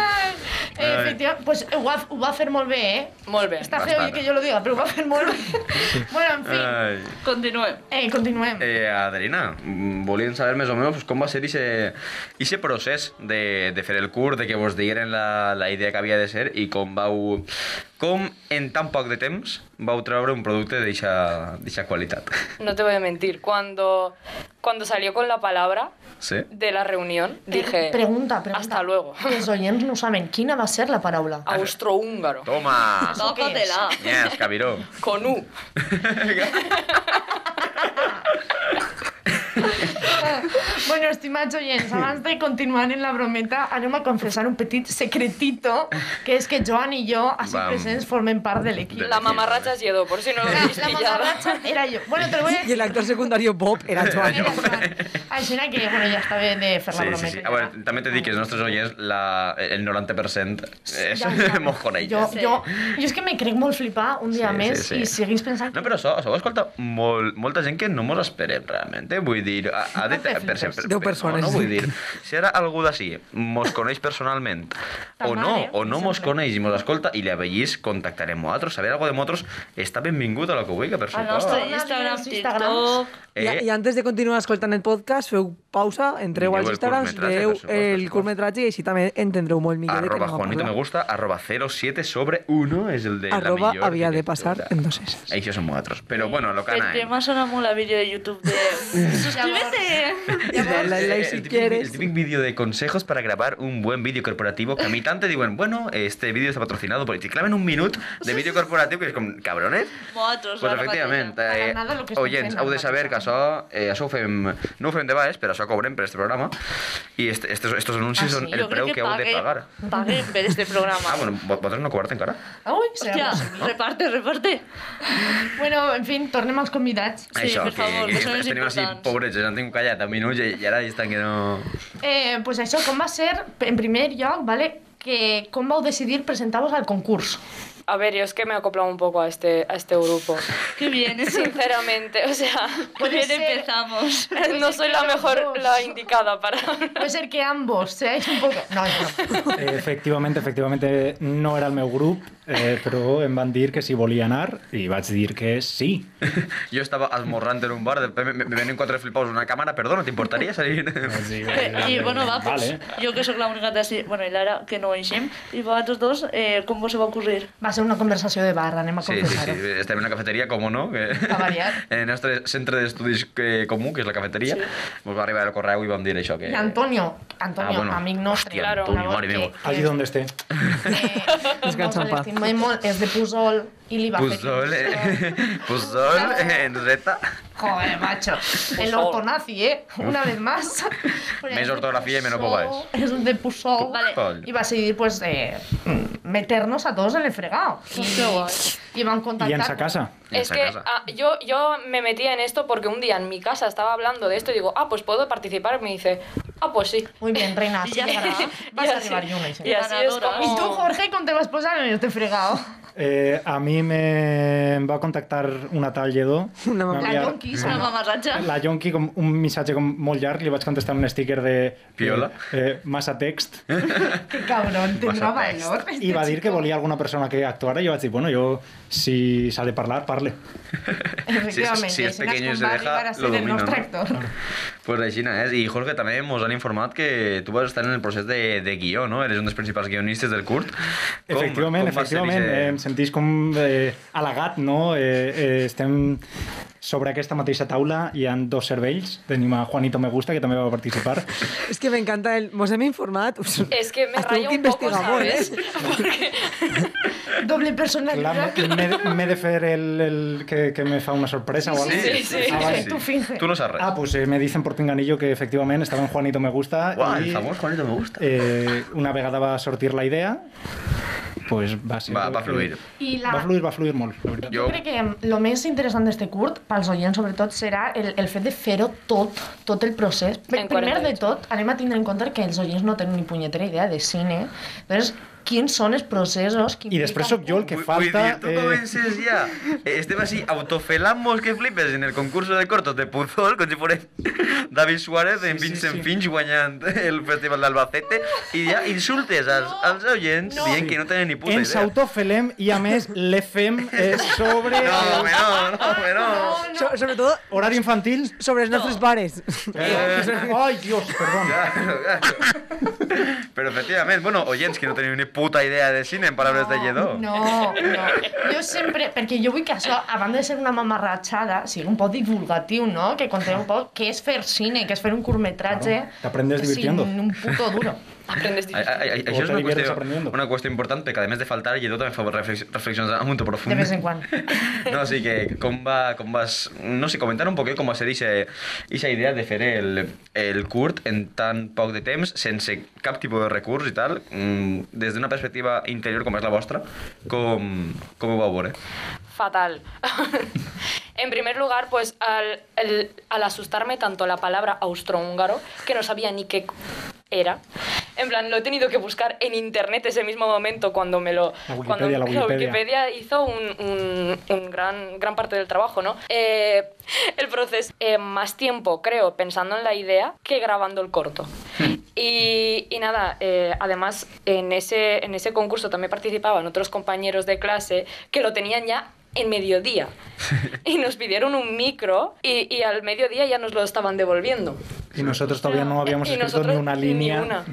[SPEAKER 5] Eh, efectivament, pues, ho, va, ho va fer molt bé, eh?
[SPEAKER 7] Molt bé.
[SPEAKER 5] Está feo
[SPEAKER 6] Bastant.
[SPEAKER 5] y que yo lo diga, pero va a hacer muy bien. Bueno, en fin.
[SPEAKER 6] Ai.
[SPEAKER 4] Continuem.
[SPEAKER 5] Eh, continuemos.
[SPEAKER 6] Eh, Adelina, mm, volíem saber més o menys pues, com va ser ixe, ixe procés de, de fer el curs, de que vos digueren la, la idea que havia de ser i com vau... Com en tan poc de temps vau treure un producte d'eixa d'eixa qualitat. [LAUGHS]
[SPEAKER 7] No te voy a mentir. Cuando, cuando salió con la palabra
[SPEAKER 6] Sí?
[SPEAKER 7] de la reunión,
[SPEAKER 5] Pre-
[SPEAKER 7] dije...
[SPEAKER 5] pregunta, pregunta.
[SPEAKER 7] Hasta luego.
[SPEAKER 5] Los oyentes no saben quién va a ser la paraula.
[SPEAKER 7] [LAUGHS] Austrohúngaro.
[SPEAKER 6] Toma!
[SPEAKER 4] Tócatela.
[SPEAKER 6] Nyes, cabiró.
[SPEAKER 7] Con U.
[SPEAKER 5] eh. bueno, estimats oients, abans de continuar en la brometa, anem a confessar un petit secretito, que és que Joan i jo, així
[SPEAKER 6] Vam.
[SPEAKER 5] presents, formen part de l'equip.
[SPEAKER 6] De-
[SPEAKER 7] La mamarracha es Yedo, por si no lo
[SPEAKER 5] La,
[SPEAKER 7] habéis
[SPEAKER 5] la
[SPEAKER 7] pillado.
[SPEAKER 5] mamarratxa era jo. Bueno, te lo voy
[SPEAKER 3] I
[SPEAKER 5] a decir.
[SPEAKER 3] l'actor secundari Bob era Joan.
[SPEAKER 5] Era Joan. Així era que, bueno, ja està bé de fer la
[SPEAKER 6] Sí,
[SPEAKER 5] brometa.
[SPEAKER 6] sí, sí. A veure, també t'he dit que els nostres oients, la, el 90% és
[SPEAKER 5] Ja ho saben.
[SPEAKER 6] eh, [LAUGHS] mos coneix.
[SPEAKER 5] Jo, jo, jo és que me crec molt flipar un dia
[SPEAKER 6] Sí, sí,
[SPEAKER 5] més
[SPEAKER 6] sí.
[SPEAKER 5] i seguís pensant
[SPEAKER 6] No, però això, això ho escolta molt, molta gent que no mos esperem, realment, eh? Vull dir... A, a de,
[SPEAKER 5] No te flipes.
[SPEAKER 3] Deu persones.
[SPEAKER 6] No, no, vull dir, si ara algú d'ací mos coneix personalment,
[SPEAKER 5] Ta
[SPEAKER 6] o no,
[SPEAKER 5] mare,
[SPEAKER 6] o no mos
[SPEAKER 5] sempre.
[SPEAKER 6] coneix i mos escolta, i li avellís, contactarem nosaltres, saber alguna cosa de nosaltres, està benvingut a la que vulgui, per Eh,
[SPEAKER 4] Al
[SPEAKER 6] suposat.
[SPEAKER 4] nostre
[SPEAKER 5] Torna
[SPEAKER 4] Ah,
[SPEAKER 5] a
[SPEAKER 4] Instagram,
[SPEAKER 5] dir els Instagrams.
[SPEAKER 4] TikTok...
[SPEAKER 3] I, I antes de continuar escoltant el podcast, feu pausa, entreu
[SPEAKER 6] Mireu
[SPEAKER 3] als
[SPEAKER 6] el
[SPEAKER 3] Instagrams,
[SPEAKER 6] curtmetratge,
[SPEAKER 3] veieu
[SPEAKER 6] per supost, per
[SPEAKER 3] el
[SPEAKER 6] supost.
[SPEAKER 3] curtmetratge i així també entendreu molt millor de què
[SPEAKER 6] Arroba
[SPEAKER 3] anem a
[SPEAKER 6] Juanito me
[SPEAKER 3] parlar.
[SPEAKER 6] gusta, arroba 07 sobre 1 és el de la
[SPEAKER 3] Arroba
[SPEAKER 6] millor.
[SPEAKER 3] havia de passar en dos
[SPEAKER 6] esos.
[SPEAKER 3] eses.
[SPEAKER 6] Això som nosaltres. Però bueno, lo que
[SPEAKER 4] Perquè
[SPEAKER 6] anàvem.
[SPEAKER 4] m'ha sonat molt a vídeo de YouTube
[SPEAKER 6] [LAUGHS]
[SPEAKER 4] de... [LAUGHS] Suscríbete!
[SPEAKER 3] I dale
[SPEAKER 6] Eh,
[SPEAKER 3] like
[SPEAKER 6] el
[SPEAKER 3] si
[SPEAKER 6] típico-
[SPEAKER 3] quieres.
[SPEAKER 6] El típico vídeo de consejos para grabar un buen vídeo corporativo que a mitad te digan, bueno, este vídeo está patrocinado por... Y te claven un minuto de vídeo corporativo que es como, cabrones.
[SPEAKER 4] Motos,
[SPEAKER 6] Pues
[SPEAKER 4] ara
[SPEAKER 6] efectivament,
[SPEAKER 4] mateix.
[SPEAKER 5] Para
[SPEAKER 6] eh,
[SPEAKER 5] nada lo que estem
[SPEAKER 6] oients,
[SPEAKER 5] fent
[SPEAKER 6] heu de
[SPEAKER 5] ara
[SPEAKER 6] saber que
[SPEAKER 5] mateix.
[SPEAKER 6] això, eh, això ho fem, no ho fem de baix, però això cobrem per este programa, i este, estes, estos anuncis
[SPEAKER 5] Ah,
[SPEAKER 6] són
[SPEAKER 5] sí?
[SPEAKER 6] el preu que, heu de pagar.
[SPEAKER 4] Paguem per este programa.
[SPEAKER 6] Ah, bueno, vos- vosaltres no cobrate encara?
[SPEAKER 5] Ui,
[SPEAKER 4] Hòstia,
[SPEAKER 5] serà possible.
[SPEAKER 4] reparte, reparte.
[SPEAKER 5] Bueno, en fin, tornem als convidats.
[SPEAKER 4] Sí,
[SPEAKER 6] Això,
[SPEAKER 4] per
[SPEAKER 6] que,
[SPEAKER 4] favor,
[SPEAKER 6] que,
[SPEAKER 4] que són els
[SPEAKER 6] tenim així
[SPEAKER 4] importants.
[SPEAKER 6] pobrets, ens han tingut callat a minuts i, i ara ja estan que no...
[SPEAKER 5] Eh, pues això, com va ser, en primer lloc, vale, que com vau decidir presentar-vos al concurs?
[SPEAKER 7] A ver, yo es que me he acoplado un poco a este, a este [LAUGHS] grupo.
[SPEAKER 4] Qué bien, eso.
[SPEAKER 7] Sinceramente, o sea,
[SPEAKER 4] Qué bien
[SPEAKER 5] ser. [LAUGHS]
[SPEAKER 4] empezamos.
[SPEAKER 7] no soy la mejor, la indicada para...
[SPEAKER 5] Puede ser que ambos seáis un poco... No, no.
[SPEAKER 2] Eh, Efectivamente, efectivamente, no era el meu grup, eh, però em van dir que si volia anar i vaig dir que sí.
[SPEAKER 6] Jo estava esmorrant en un bar, de me, me me venen quatre flipaos una càmera, perdona, t'importaria salir?
[SPEAKER 2] Em Vaig dir,
[SPEAKER 4] Eh, [LAUGHS] I, bueno, va, pues,
[SPEAKER 2] Vale.
[SPEAKER 4] jo que sóc la única de... si- Bueno, i l'Ara, que no ho eixem. I vosaltres dos, eh, com vos ho va ocurrir?
[SPEAKER 5] Va ser una conversació de bar, anem a
[SPEAKER 6] Sí, sí, sí,
[SPEAKER 5] confessar-ho.
[SPEAKER 6] estem en una cafeteria, com no? Que...
[SPEAKER 5] A variar.
[SPEAKER 6] [LAUGHS] En el nostre centre d'estudis eh, comú, que és la cafeteria, sí. ens va arribar el correu i vam dir això. Que...
[SPEAKER 5] I Antonio, Antonio,
[SPEAKER 6] Ah, bueno.
[SPEAKER 5] amic nostre.
[SPEAKER 6] Hòstia,
[SPEAKER 7] Claro.
[SPEAKER 6] Antonio, mare meva.
[SPEAKER 2] Allí on esté.
[SPEAKER 5] Eh,
[SPEAKER 3] [LAUGHS] Descansa en
[SPEAKER 5] molt
[SPEAKER 3] paz.
[SPEAKER 5] l'estimem molt, és de Pusol i li va
[SPEAKER 6] Puzol,
[SPEAKER 5] fer...
[SPEAKER 6] eh? [LAUGHS] Puzol, eh, en reta.
[SPEAKER 5] Joder, macho. El ortonazi, eh? Una vez más.
[SPEAKER 6] Més ortografía y menos bobaes.
[SPEAKER 5] Es de Pusol.
[SPEAKER 4] Vale.
[SPEAKER 6] Puzol.
[SPEAKER 5] Oh, Y va a seguir, pues, eh, meternos a todos en el fregado.
[SPEAKER 7] Qué guay.
[SPEAKER 5] Y van a
[SPEAKER 2] I en
[SPEAKER 5] contactar.
[SPEAKER 2] sa casa.
[SPEAKER 6] En
[SPEAKER 7] [LAUGHS] Es
[SPEAKER 6] esa
[SPEAKER 7] que
[SPEAKER 6] casa.
[SPEAKER 7] ah, yo, yo me metía en esto porque un día en mi casa estaba hablando de esto y digo, ah, pues puedo participar. Y me dice, ah, pues sí.
[SPEAKER 5] Muy bien, reina. así
[SPEAKER 7] [LAUGHS]
[SPEAKER 4] Ya.
[SPEAKER 5] llegará. Vas
[SPEAKER 7] Y
[SPEAKER 5] a
[SPEAKER 7] así-
[SPEAKER 5] arribar, Yuna.
[SPEAKER 7] Y así es
[SPEAKER 4] Ganadora.
[SPEAKER 7] como...
[SPEAKER 5] Y tú, Jorge, con te vas a posar en este
[SPEAKER 6] [LAUGHS]
[SPEAKER 5] fregado.
[SPEAKER 2] Eh, a mi me em va contactar una tal Lledó.
[SPEAKER 3] Una mamá.
[SPEAKER 2] em va
[SPEAKER 5] La
[SPEAKER 2] enviar-
[SPEAKER 5] Yonki,
[SPEAKER 4] És una
[SPEAKER 2] [LAUGHS]
[SPEAKER 4] mamarratxa.
[SPEAKER 2] la Yonki com un missatge com molt llarg, li vaig contestar amb un sticker de...
[SPEAKER 6] Piola.
[SPEAKER 2] Eh, eh, massa text.
[SPEAKER 5] Qué cabrón, tendrá
[SPEAKER 6] Vas a test.
[SPEAKER 5] valor. este
[SPEAKER 2] I va dir que
[SPEAKER 5] chico.
[SPEAKER 2] volia alguna persona que actuara i jo vaig dir, bueno, jo, si s'ha de parlar, parle.
[SPEAKER 5] [LAUGHS] Efectivamente,
[SPEAKER 6] Si- si es
[SPEAKER 5] Sinasco
[SPEAKER 6] pequeño y se
[SPEAKER 5] va a
[SPEAKER 6] deja,
[SPEAKER 5] arribar a
[SPEAKER 6] lo
[SPEAKER 5] ser el
[SPEAKER 6] domina,
[SPEAKER 5] nostre
[SPEAKER 6] ¿no?
[SPEAKER 5] actor. [LAUGHS]
[SPEAKER 6] Pues així és. I Jorge, també ens han informat que tu vas estar en el procés de, de guió, no? Eres un dels principals guionistes del curt. Com-
[SPEAKER 2] efectivament,
[SPEAKER 6] com va ser
[SPEAKER 2] efectivament.
[SPEAKER 6] ixe-
[SPEAKER 2] Eh, em sentís com eh, al·legat, no? Eh, eh, estem sobre aquesta mateixa taula hi han dos cervells. Tenim a Juanito Me Gusta, que també va participar.
[SPEAKER 3] Es que me encanta el... Mos hem informat.
[SPEAKER 7] Es que me
[SPEAKER 3] Has tenido
[SPEAKER 7] raya
[SPEAKER 3] que
[SPEAKER 7] un poco,
[SPEAKER 3] investigar molt,
[SPEAKER 7] ¿sabes?
[SPEAKER 3] eh?
[SPEAKER 7] [LAUGHS] Porque
[SPEAKER 5] Doble
[SPEAKER 2] Clar,
[SPEAKER 5] personalidad.
[SPEAKER 2] M'he m'he de fer el, el que, que me fa una sorpresa o alguna
[SPEAKER 6] Sí, sí, sí.
[SPEAKER 2] Ah, vale.
[SPEAKER 5] Tú finge.
[SPEAKER 6] Tu no saps res.
[SPEAKER 2] Ah, pues eh, me dicen por pinganillo que efectivament estava en Juanito Me Gusta.
[SPEAKER 6] Uau,
[SPEAKER 2] i-
[SPEAKER 6] el famós Juanito me gusta.
[SPEAKER 2] eh, una vegada va sortir la idea, pues va ser...
[SPEAKER 6] Va,
[SPEAKER 2] el
[SPEAKER 6] va
[SPEAKER 2] que-
[SPEAKER 6] fluir.
[SPEAKER 5] I la...
[SPEAKER 2] Va fluir, va fluir molt, la veritat.
[SPEAKER 6] Jo-
[SPEAKER 5] Jo crec que el més interessant d'aquest curt, pels oients sobretot, serà el, el fet de fer-ho tot, tot el procés. Pr-
[SPEAKER 7] En
[SPEAKER 5] Primer
[SPEAKER 7] 48.
[SPEAKER 5] de tot, anem a tindre en compte que els oients no tenen ni punyetera idea de cine. Llavors, quins són els processos... que
[SPEAKER 2] I després
[SPEAKER 5] impliquen-
[SPEAKER 2] sóc jo el que
[SPEAKER 6] Vull-
[SPEAKER 2] falta... eh,
[SPEAKER 6] Vull dir, tu comences
[SPEAKER 2] [LAUGHS]
[SPEAKER 6] ja. Eh, Estem así, autofelamos que flipes en el concurso de cortos de Puzol, com si fores David Suárez en
[SPEAKER 2] Sí, sí,
[SPEAKER 6] Vincent
[SPEAKER 2] sí.
[SPEAKER 6] Finch guanyant el Festival d'Albacete i ja insultes als, als oients dient que no tenen ni puta
[SPEAKER 2] ens
[SPEAKER 6] idea.
[SPEAKER 2] autofelem i a
[SPEAKER 6] [LAUGHS]
[SPEAKER 2] més l'efem eh, sobre
[SPEAKER 6] No, home,
[SPEAKER 2] el
[SPEAKER 6] no, no, home, no.
[SPEAKER 3] So- sobre todo
[SPEAKER 2] horari infantil.
[SPEAKER 3] sobre els nostres
[SPEAKER 7] [LAUGHS]
[SPEAKER 3] pares.
[SPEAKER 2] Eh, Ai, Dios, perdona.
[SPEAKER 6] Claro, claro. Però efectivament, bueno, oients que no teniu ni puta idea de cine en paraules de Lledó.
[SPEAKER 5] No, no. Jo sempre... Perquè jo vull que això, a banda de ser una mamarratxada, sigui un poc divulgatiu, no? Que conteu un poc què és fer cine, què és fer un curtmetratge...
[SPEAKER 2] Claro, t'aprendes divirtiendo.
[SPEAKER 5] Sin un puto duro.
[SPEAKER 7] aprendes
[SPEAKER 6] Ai,
[SPEAKER 7] difícil.
[SPEAKER 6] ai, ai,
[SPEAKER 2] O
[SPEAKER 6] això és
[SPEAKER 2] te
[SPEAKER 6] una
[SPEAKER 2] diviertes
[SPEAKER 6] qüestió,
[SPEAKER 2] aprendiendo.
[SPEAKER 6] una qüestió important perquè, a més de faltar, Lledó també fa reflex- reflexions molt profundes.
[SPEAKER 5] De vez en
[SPEAKER 2] [LAUGHS]
[SPEAKER 5] quan.
[SPEAKER 6] [LAUGHS] No, sí que com va, com vas, no sé, comentar un poquet com va ser aquesta idea de fer el, el curt en tan poc de temps, sense cap tipus de recurs i tal, mm, des d'una perspectiva interior com és la vostra, com, com ho vau veure?
[SPEAKER 7] Fatal. [LAUGHS] en primer lugar, pues al, el- al asustarme tanto la palabra austrohúngaro, que no sabía ni qué era. En plan, lo he tenido que buscar en internet ese mismo momento cuando me [LAUGHS] lo...
[SPEAKER 2] La Wikipedia,
[SPEAKER 7] cuando
[SPEAKER 2] la Wikipedia.
[SPEAKER 7] Wikipedia hizo un, un- un gran, gran parte del trabajo, ¿no? Eh, el proceso, eh, más tiempo, creo, pensando en la idea que grabando el corto.
[SPEAKER 2] Hmm.
[SPEAKER 7] Y, y nada, eh, además en ese, en ese concurso también participaban otros compañeros de clase que lo tenían ya en mediodía.
[SPEAKER 2] [LAUGHS]
[SPEAKER 7] Y nos pidieron un micro y, y al mediodía ya nos lo estaban devolviendo.
[SPEAKER 2] I nosaltres Pues todavía no habíamos
[SPEAKER 7] Y
[SPEAKER 2] escrito ni
[SPEAKER 7] nosotros
[SPEAKER 2] una
[SPEAKER 7] ni
[SPEAKER 2] línia.
[SPEAKER 7] una.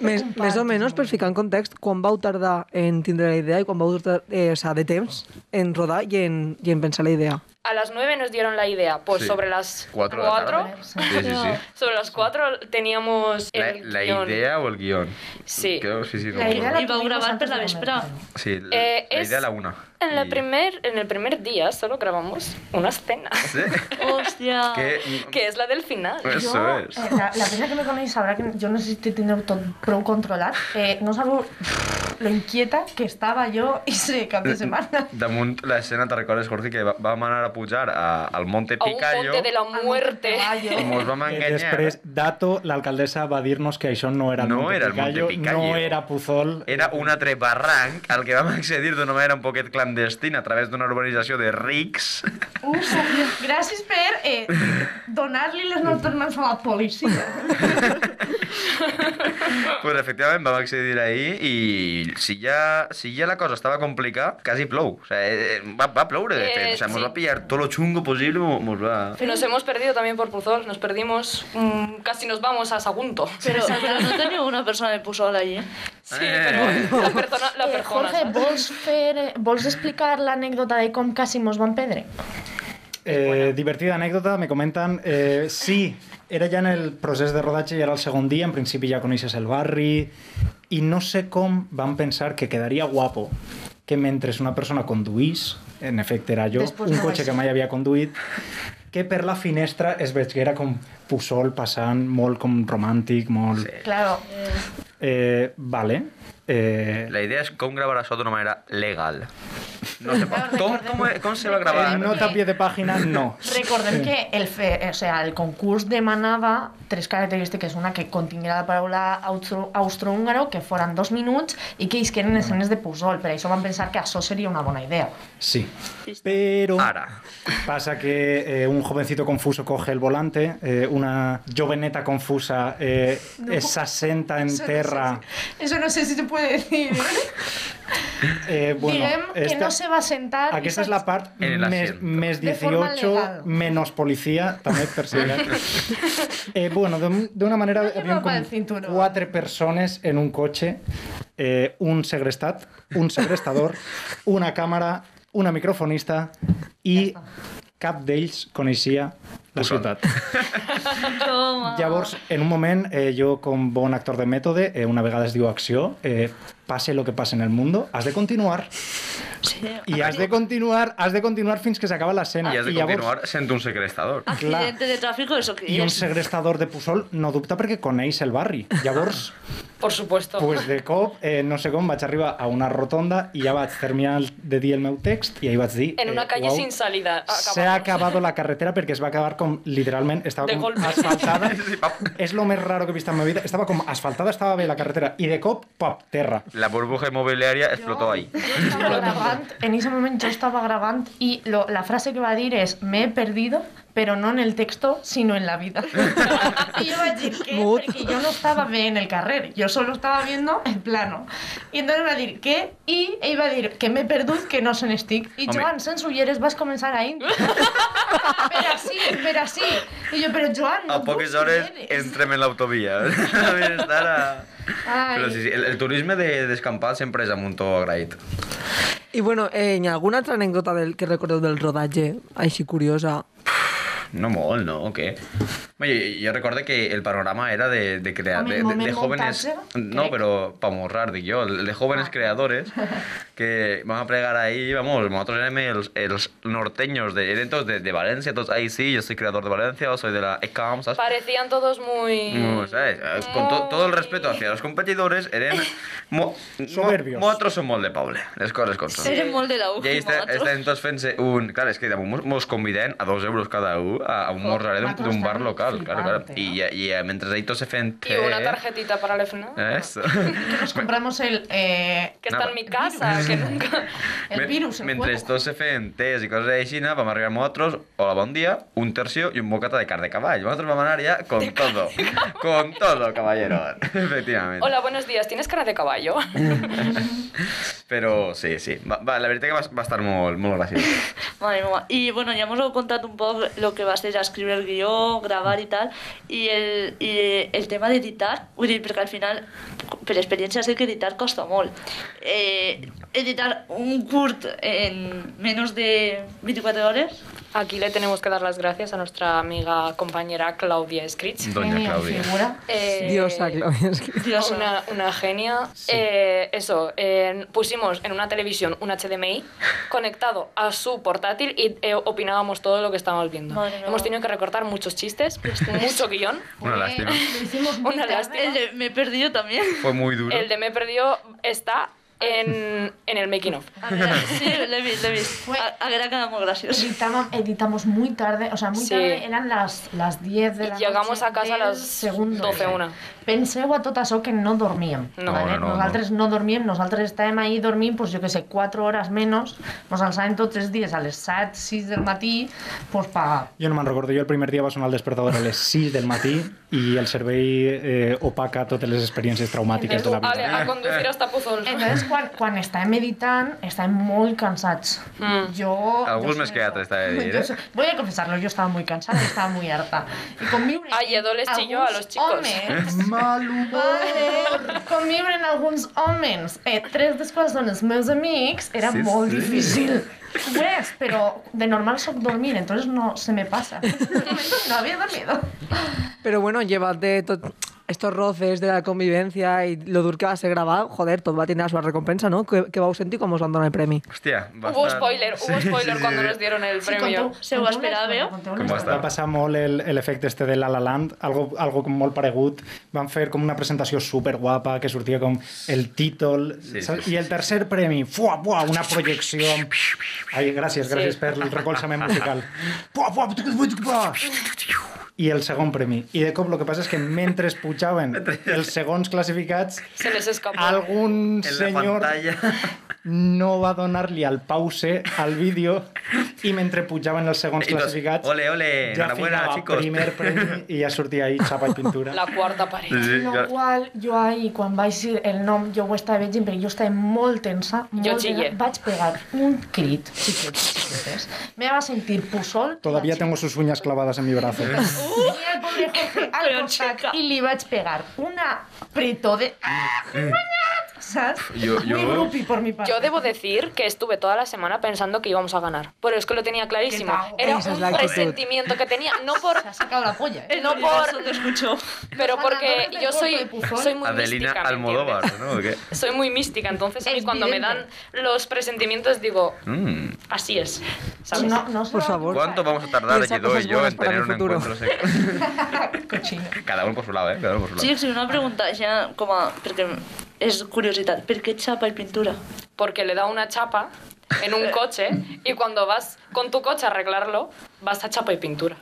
[SPEAKER 3] més, més o menys, per ficar en context, quan vau tardar en tindre la idea i quan vau tardar, eh, o sea, de temps, en rodar i en, i en pensar la idea.
[SPEAKER 7] A las 9 nos dieron la idea, pues
[SPEAKER 6] Sí.
[SPEAKER 7] sobre las
[SPEAKER 6] Cuatro de la
[SPEAKER 7] cuatro-
[SPEAKER 6] tarde. Sí, sí, sí.
[SPEAKER 7] sobre las 4 teníamos
[SPEAKER 6] La,
[SPEAKER 7] el
[SPEAKER 6] la
[SPEAKER 7] guión.
[SPEAKER 6] idea o el guión?
[SPEAKER 7] Sí.
[SPEAKER 6] Creo, sí, sí, no
[SPEAKER 5] La
[SPEAKER 6] me
[SPEAKER 5] idea
[SPEAKER 6] acuerdo.
[SPEAKER 5] la
[SPEAKER 4] I vau gravar per la
[SPEAKER 5] tuvimos antes de
[SPEAKER 4] vespre.
[SPEAKER 5] comentar.
[SPEAKER 6] Sí, la,
[SPEAKER 7] Eh,
[SPEAKER 6] la
[SPEAKER 7] es-
[SPEAKER 6] idea a la una.
[SPEAKER 7] En, la
[SPEAKER 6] Y-
[SPEAKER 7] primer, en el primer día solo grabamos una escena,
[SPEAKER 6] [LAUGHS]
[SPEAKER 7] [LAUGHS]
[SPEAKER 6] Sí.
[SPEAKER 4] Hòstia.
[SPEAKER 6] Que,
[SPEAKER 7] que es la del final.
[SPEAKER 6] Eso
[SPEAKER 5] jo,
[SPEAKER 6] es.
[SPEAKER 5] Eh, la, la persona que me coneix sabrà que jo necessito tindre tot prou controlat. Eh, no sabeu Eh, lo inquieta que estava jo i se cap de setmana.
[SPEAKER 6] Damunt l'escena, te'n recordes, Jorge, que va- vam anar a pujar a, al Monte
[SPEAKER 7] A un
[SPEAKER 6] Picayo
[SPEAKER 7] monte de
[SPEAKER 8] Ah,
[SPEAKER 7] la
[SPEAKER 5] Al
[SPEAKER 7] muerte.
[SPEAKER 5] Montecaballo.
[SPEAKER 6] i mos vam
[SPEAKER 2] Eh,
[SPEAKER 6] enganyar.
[SPEAKER 2] Després, dato, la alcaldesa va dir-nos que això no era el
[SPEAKER 6] No
[SPEAKER 2] Monte
[SPEAKER 6] era el
[SPEAKER 2] Picayo,
[SPEAKER 6] Monte Picayo. Eh,
[SPEAKER 2] no era Puzol. Eh,
[SPEAKER 6] Era un altre barranc al que vam accedir d'una manera un poquet clandestina a través d'una urbanització de rics. [LAUGHS]
[SPEAKER 5] Uf, gràcies per eh, donar-li les nostres mans a la policia.
[SPEAKER 6] pues efectivament vam accedir ahir i si ja, si ja la cosa estava complicada, quasi plou. O sea, eh, eh, va, va ploure, de
[SPEAKER 7] Eh,
[SPEAKER 6] fet. O sea, mos
[SPEAKER 7] sí.
[SPEAKER 6] va pillar tot lo chungo posible, mo- mos va...
[SPEAKER 7] [LAUGHS] Nos hemos perdido también por Puzol, nos perdimos, mm, casi nos vamos a Sagunto.
[SPEAKER 8] [LAUGHS]
[SPEAKER 4] Pero, pero no teniu una persona de Pusol allí.
[SPEAKER 7] Sí,
[SPEAKER 6] Eh.
[SPEAKER 7] [LAUGHS] pero la persona, la
[SPEAKER 8] Eh,
[SPEAKER 7] persona.
[SPEAKER 8] Jorge,
[SPEAKER 7] ¿sabes?
[SPEAKER 8] vols, fer, vols explicar l'anècdota de com quasi mos van perdre?
[SPEAKER 2] Eh, divertida anècdota, me comenten. Eh, sí, era ja en el procés de rodatge i era el segon dia, en principi ja coneixes el barri, i no sé com van pensar que quedaria guapo que mentre una persona conduís, en efecte era jo,
[SPEAKER 5] Després
[SPEAKER 2] un
[SPEAKER 5] no
[SPEAKER 2] cotxe
[SPEAKER 5] vaig.
[SPEAKER 2] que mai havia conduït, que per la finestra es veiera com Puçol passant, molt com romàntic, molt... Sí.
[SPEAKER 5] Claro,
[SPEAKER 2] Eh, vale. Eh,
[SPEAKER 6] La idea és com gravar això d'una manera
[SPEAKER 5] [LAUGHS]
[SPEAKER 6] legal. No sé,
[SPEAKER 5] Claro, Eh,
[SPEAKER 6] com,
[SPEAKER 5] recordem-
[SPEAKER 6] com, com se va gravar?
[SPEAKER 5] recordem-
[SPEAKER 2] no a pie de pàgina, no.
[SPEAKER 5] recordem que el, fe, o sea, el concurs demanava tres característiques. Una, que continguera la paraula austro, austrohúngaro, que foren dos minuts, i que isqueren escenes de Pujol. Per això van pensar que això seria una bona idea.
[SPEAKER 2] Sí. Pero
[SPEAKER 6] Ara.
[SPEAKER 2] pasa que eh, un jovencito confuso coge el volante, eh, una joveneta confusa eh, eh, se asienta en
[SPEAKER 5] Eso no sé
[SPEAKER 2] terra.
[SPEAKER 5] si- Eso no sé si se puede decir.
[SPEAKER 2] Eh, bueno,
[SPEAKER 5] Diguem que
[SPEAKER 2] esta-
[SPEAKER 5] no se va a sentar... i
[SPEAKER 2] aquesta és
[SPEAKER 5] saps-
[SPEAKER 2] la part
[SPEAKER 6] En el
[SPEAKER 2] més,
[SPEAKER 6] asiento.
[SPEAKER 2] més
[SPEAKER 5] De forma
[SPEAKER 2] 18,
[SPEAKER 5] legal.
[SPEAKER 2] menys policia, també per
[SPEAKER 5] [LAUGHS]
[SPEAKER 2] ser legal. eh, bueno, d'un- d'una manera
[SPEAKER 5] No
[SPEAKER 2] havien
[SPEAKER 5] llevava
[SPEAKER 2] com
[SPEAKER 5] el cinturó.
[SPEAKER 2] quatre persones en un cotxe, eh, un segrestat, un
[SPEAKER 5] [LAUGHS]
[SPEAKER 2] segrestador, una càmera, una microfonista i cap d'ells coneixia la
[SPEAKER 6] Pujol.
[SPEAKER 5] [LAUGHS]
[SPEAKER 2] ciutat.
[SPEAKER 4] Toma.
[SPEAKER 2] Llavors, en un moment, eh, jo com bon actor de mètode, eh, una vegada es diu acció, eh, passe lo que passe en el mundo, has de continuar
[SPEAKER 4] Sí.
[SPEAKER 2] i has de continuar, has de continuar fins que s'acaba
[SPEAKER 5] Ah,
[SPEAKER 2] l'escena.
[SPEAKER 6] I has de
[SPEAKER 2] llavors-
[SPEAKER 6] continuar sent un
[SPEAKER 5] [LAUGHS]
[SPEAKER 6] segrestador.
[SPEAKER 4] Accidente de tráfico, eso que
[SPEAKER 2] I
[SPEAKER 4] [LAUGHS]
[SPEAKER 2] un
[SPEAKER 4] es.
[SPEAKER 2] segrestador de Pusol no dubta perquè coneix el barri. Llavors,
[SPEAKER 7] Por supuesto.
[SPEAKER 2] pues de cop, eh, no sé com, vaig arribar a una rotonda i ja vaig terminar de dir el meu text i ahí vaig dir...
[SPEAKER 7] En una
[SPEAKER 2] eh,
[SPEAKER 7] calle
[SPEAKER 2] uau,
[SPEAKER 7] sin salida.
[SPEAKER 2] Se ha acabado la carretera perquè es va acabar com, literalment, estava
[SPEAKER 7] [LAUGHS] De
[SPEAKER 2] com
[SPEAKER 7] golpe.
[SPEAKER 2] asfaltada.
[SPEAKER 6] Sí, pap.
[SPEAKER 2] És lo més raro que he vist en la meva vida. Estava com asfaltada, estava bé la carretera i de cop, pop, terra.
[SPEAKER 6] La burbuja inmobiliaria [LAUGHS] explotó ahí.
[SPEAKER 5] Jo estava gravant, en ese moment jo estava gravant i lo, la frase que va dir és me he perdido, però no en el texto, sino en la vida. [LAUGHS] I jo vaig dir què?
[SPEAKER 3] Mut.
[SPEAKER 5] Perquè jo no estava bé en el carrer, jo solo estava viendo el plano. I entonces va dir què? I ell va dir que m'he perdut, que no se n'estic. I
[SPEAKER 6] Home.
[SPEAKER 5] Joan, sense ulleres, vas començar a [LAUGHS] intra. per així, per així. I jo, però Joan, no
[SPEAKER 6] A poques
[SPEAKER 5] busquis
[SPEAKER 6] hores
[SPEAKER 5] ulleres".
[SPEAKER 6] entrem en l'autovia. Havies d'estar [LAUGHS] a-
[SPEAKER 5] Ai.
[SPEAKER 6] Però sí, sí, el, el turisme de- d'escampat sempre és amunt o agraït.
[SPEAKER 3] I bueno, eh, hi ha alguna altra anècdota del que recordeu del rodatge, així curiosa?
[SPEAKER 6] No molt, no? O què? Bé, jo, jo recordo que el panorama era de, de crear...
[SPEAKER 5] Home,
[SPEAKER 6] De,
[SPEAKER 5] el
[SPEAKER 6] de, de
[SPEAKER 5] moment
[SPEAKER 6] jóvenes...
[SPEAKER 5] muntatge,
[SPEAKER 6] No,
[SPEAKER 5] crec.
[SPEAKER 6] però pa morrar, dic jo. De jóvenes creadores que van a pregar ahí, vamos, nosotros érem els, els norteños, de, eren tots de, de València, tots, ahí sí, yo soy creador de València, soy de la ECAM, saps?
[SPEAKER 7] [LAUGHS] Parecían todos muy...
[SPEAKER 6] No, ¿sabes? Ah, Con to- todo el respeto hacia los competidores, eren mo
[SPEAKER 2] Soberbios.
[SPEAKER 6] Mo motros són molt de poble, les coses com són.
[SPEAKER 4] Eren molt de la
[SPEAKER 6] I ahí està, estan tots fent-se un... Clar, és que damunt mos, mos conviden a dos euros cada un a, a un morralet d'un- d'un bar local, clar, clar. I, i, i mentre ahí tots se fent
[SPEAKER 7] Y
[SPEAKER 6] té...
[SPEAKER 7] una tarjetita para el FNA.
[SPEAKER 6] Eso.
[SPEAKER 5] Nos compramos el, eh,
[SPEAKER 7] Que está
[SPEAKER 6] ¿Eh? Nada.
[SPEAKER 7] en mi
[SPEAKER 6] [LAUGHS]
[SPEAKER 7] casa, que nunca...
[SPEAKER 5] el
[SPEAKER 6] Me-
[SPEAKER 5] virus, el
[SPEAKER 6] Mentre
[SPEAKER 5] juego.
[SPEAKER 6] tots se fent tes i coses així, no, vam arribar nosaltres, hola, bon dia, un tercio i un bocata de carn de cavall. Nosaltres vam anar ja con todo, [LAUGHS] con todo, caballero. [LAUGHS] Efectivament.
[SPEAKER 7] Hola, buenos días, ¿tienes cara de caballo?
[SPEAKER 5] [LAUGHS]
[SPEAKER 6] Però sí, sí. Va, va, la veritat que va, va estar molt, molt graciós.
[SPEAKER 4] Madre mía. Y bueno, ya hemos contado un poco lo que va a ser a escribir el guión, grabar y tal. Y el, y el tema de editar, vull dir, perquè al final, per experiència sé que editar costa molt. Eh, editar un curt en menos de 24 hores,
[SPEAKER 7] Aquí le tenemos que dar las gracias a nuestra amiga compañera Claudia
[SPEAKER 5] Mm.
[SPEAKER 7] Scritch.
[SPEAKER 6] Doña
[SPEAKER 5] Genial,
[SPEAKER 6] Claudia.
[SPEAKER 5] figura.
[SPEAKER 7] Eh,
[SPEAKER 3] Diosa, Claudia. és que-
[SPEAKER 4] Dios,
[SPEAKER 7] Una, una genia. Eh, eso, eh, pusimos en una televisión
[SPEAKER 5] [LAUGHS]
[SPEAKER 7] un HDMI conectado a su portátil y eh, opinábamos todo lo que estábamos viendo.
[SPEAKER 4] Madre mía.
[SPEAKER 7] Hemos tenido que recortar
[SPEAKER 5] [LAUGHS]
[SPEAKER 7] muchos chistes, mucho guión.
[SPEAKER 6] Una
[SPEAKER 5] pues
[SPEAKER 6] lástima.
[SPEAKER 5] Lo hicimos muy
[SPEAKER 7] Una
[SPEAKER 5] tarde,
[SPEAKER 4] eh,
[SPEAKER 7] lástima.
[SPEAKER 5] ¿no?
[SPEAKER 4] el de, me he perdido también.
[SPEAKER 6] Fue muy duro.
[SPEAKER 7] El de me he perdido está en, en el making of.
[SPEAKER 4] A ver, [LAUGHS] sí, l'he vist, l'he vist. A, a veure, queda molt graciós.
[SPEAKER 5] Editamos, editamos muy tarde, o sea, muy
[SPEAKER 7] Sí.
[SPEAKER 5] tarde, eran las, las 10 de la
[SPEAKER 7] Y llegamos
[SPEAKER 5] noche
[SPEAKER 7] a casa a
[SPEAKER 5] del
[SPEAKER 7] las
[SPEAKER 5] segundo.
[SPEAKER 7] 12 una.
[SPEAKER 5] Penseu a tot això que no dormíem.
[SPEAKER 7] No.
[SPEAKER 5] ¿vale?
[SPEAKER 6] No, no, no,
[SPEAKER 5] nosaltres no. dormíem, nosaltres estàvem ahí dormint, pues, jo que sé, 4 hores menys, nos alçàvem tots els dies a les 7, 6 del matí, pues,
[SPEAKER 7] [LAUGHS]
[SPEAKER 5] pa...
[SPEAKER 2] Jo no me'n recordo, jo el primer dia va sonar el despertador a les 6 del matí i el servei eh, opaca totes les experiències traumàtiques de la
[SPEAKER 7] A, ver,
[SPEAKER 2] vida.
[SPEAKER 7] a conducir hasta
[SPEAKER 5] [LAUGHS]
[SPEAKER 7] Puzol.
[SPEAKER 5] Entonces, quan, quan estàvem meditant, estàvem molt cansats.
[SPEAKER 7] Mm.
[SPEAKER 5] Jo...
[SPEAKER 6] Alguns
[SPEAKER 5] jo
[SPEAKER 6] més
[SPEAKER 5] sé
[SPEAKER 6] que
[SPEAKER 5] això. [LAUGHS]
[SPEAKER 6] altres, t'ha de dir,
[SPEAKER 5] Jo
[SPEAKER 6] eh?
[SPEAKER 5] sé- Voy a confesarlo, yo estaba muy cansada, estaba muy harta. Y conviure...
[SPEAKER 7] Ay, yo les chillo a los chicos. [LAUGHS]
[SPEAKER 5] Homes,
[SPEAKER 2] Mal
[SPEAKER 5] Vale, conviure amb alguns homes, eh, tres dels quals són els meus amics, era
[SPEAKER 6] Sí,
[SPEAKER 5] molt
[SPEAKER 6] sí.
[SPEAKER 5] difícil. Ho és, però de normal soc dormir, entonces no se me
[SPEAKER 7] [LAUGHS]
[SPEAKER 5] pasa. No había dormido.
[SPEAKER 3] Pero bueno, llevas de to- estos roces de la convivencia y lo dur que va a ser grabado, joder, todo va a tener su recompensa, ¿no? Que, que vau sentir com us van donar el premi.
[SPEAKER 6] Hòstia, bastant...
[SPEAKER 7] Hubo spoiler, hubo
[SPEAKER 6] Sí,
[SPEAKER 7] spoiler
[SPEAKER 6] sí,
[SPEAKER 7] cuando
[SPEAKER 6] sí.
[SPEAKER 7] nos dieron el premio.
[SPEAKER 5] conteu-
[SPEAKER 4] Se ho
[SPEAKER 5] conteu una
[SPEAKER 4] esperava.
[SPEAKER 5] història, conteu una
[SPEAKER 6] Com
[SPEAKER 5] història.
[SPEAKER 2] Va passar molt el- el efecte este de La La Land, algo, algo com molt paregut. Van fer com una presentació super guapa que sortia com el títol
[SPEAKER 6] Sí, sí,
[SPEAKER 2] saps?
[SPEAKER 6] sí,
[SPEAKER 2] i el tercer premi, fuà, fuà, una projecció. amb- Ai, gràcies, gràcies
[SPEAKER 7] Sí.
[SPEAKER 2] per el recolzament musical. Fuà, fuà, tuc, tuc, tuc, fuà. I el segon premi. I de cop el que passa és que mentre pujaven els segons classificats,
[SPEAKER 7] Se les escapó.
[SPEAKER 6] En
[SPEAKER 2] algun
[SPEAKER 6] la
[SPEAKER 2] senyor
[SPEAKER 6] pantalla... [LAUGHS]
[SPEAKER 2] no va donar-li al pause al vídeo i mentre pujaven els segons
[SPEAKER 6] I tots,
[SPEAKER 2] classificats
[SPEAKER 6] "Ole, ole,
[SPEAKER 2] ja
[SPEAKER 6] enhorabuena,
[SPEAKER 2] ficava
[SPEAKER 6] chicos".
[SPEAKER 2] primer
[SPEAKER 6] [LAUGHS]
[SPEAKER 2] premi i ja sortia ahí xapa i pintura
[SPEAKER 7] La cuarta pared.
[SPEAKER 6] Sí, sí,
[SPEAKER 5] Lo
[SPEAKER 6] clar.
[SPEAKER 5] qual, jo ahir, quan vaig dir el nom, jo ho estava veient, perquè jo estava molt tensa, molt
[SPEAKER 7] Jo chillé.
[SPEAKER 5] tensa. Vaig pegar un crit, xiquets, xiquetes. Me va sentir pusol.
[SPEAKER 2] Todavía tengo sus uñas clavadas en mi
[SPEAKER 6] [LAUGHS]
[SPEAKER 2] brazo.
[SPEAKER 5] I el pobre Jorge
[SPEAKER 7] [LAUGHS]
[SPEAKER 5] al
[SPEAKER 4] Però,
[SPEAKER 5] costat
[SPEAKER 4] xica.
[SPEAKER 5] i li vaig pegar una pretó de... Ah,
[SPEAKER 6] Mm,
[SPEAKER 5] guanyat! Saps?
[SPEAKER 6] Jo- jo-
[SPEAKER 5] Muy grupi, por mi part.
[SPEAKER 7] Yo debo decir que estuve toda la semana pensando que íbamos a ganar, pero es que lo tenía clarísimo.
[SPEAKER 5] Qué tal.
[SPEAKER 7] Era
[SPEAKER 3] Esa es
[SPEAKER 7] un
[SPEAKER 3] la actitud.
[SPEAKER 7] presentimiento que tenía, no por,
[SPEAKER 5] Se ha sacado la polla, eh?
[SPEAKER 4] El
[SPEAKER 7] [LAUGHS] No
[SPEAKER 4] universo
[SPEAKER 7] por-
[SPEAKER 4] te escuchó.
[SPEAKER 7] pero porque
[SPEAKER 5] ganadores del
[SPEAKER 7] yo
[SPEAKER 5] golpe
[SPEAKER 7] soy,
[SPEAKER 5] de Pujol.
[SPEAKER 7] soy muy
[SPEAKER 6] Adelina
[SPEAKER 7] mística. ¿me entiendes?
[SPEAKER 6] Almodóvar, ¿no? ¿O qué?
[SPEAKER 7] Soy muy mística, entonces a mí
[SPEAKER 5] Es
[SPEAKER 7] cuando me dan
[SPEAKER 5] vidente.
[SPEAKER 7] los presentimientos digo,
[SPEAKER 6] Mm.
[SPEAKER 7] así es.
[SPEAKER 5] Si
[SPEAKER 7] ¿sabes?
[SPEAKER 5] No, no se
[SPEAKER 3] Por
[SPEAKER 5] va a
[SPEAKER 3] favor.
[SPEAKER 6] ¿Cuánto vamos a tardar
[SPEAKER 3] Piensa
[SPEAKER 6] Guido y
[SPEAKER 3] cosas
[SPEAKER 6] yo
[SPEAKER 3] buenas
[SPEAKER 6] en
[SPEAKER 3] para
[SPEAKER 6] tener
[SPEAKER 3] mi
[SPEAKER 6] un
[SPEAKER 3] futuro.
[SPEAKER 6] encuentro sexual?
[SPEAKER 5] Cochino.
[SPEAKER 6] [LAUGHS] Cada uno por su lado, ¿eh? Cada uno por su lado.
[SPEAKER 4] Xics, una pregunta, ja com a... Perquè és curiositat. Per què xapa i pintura?
[SPEAKER 7] Porque le da una chapa en un coche y cuando vas con tu coche a arreglarlo, vas a chapa y pintura.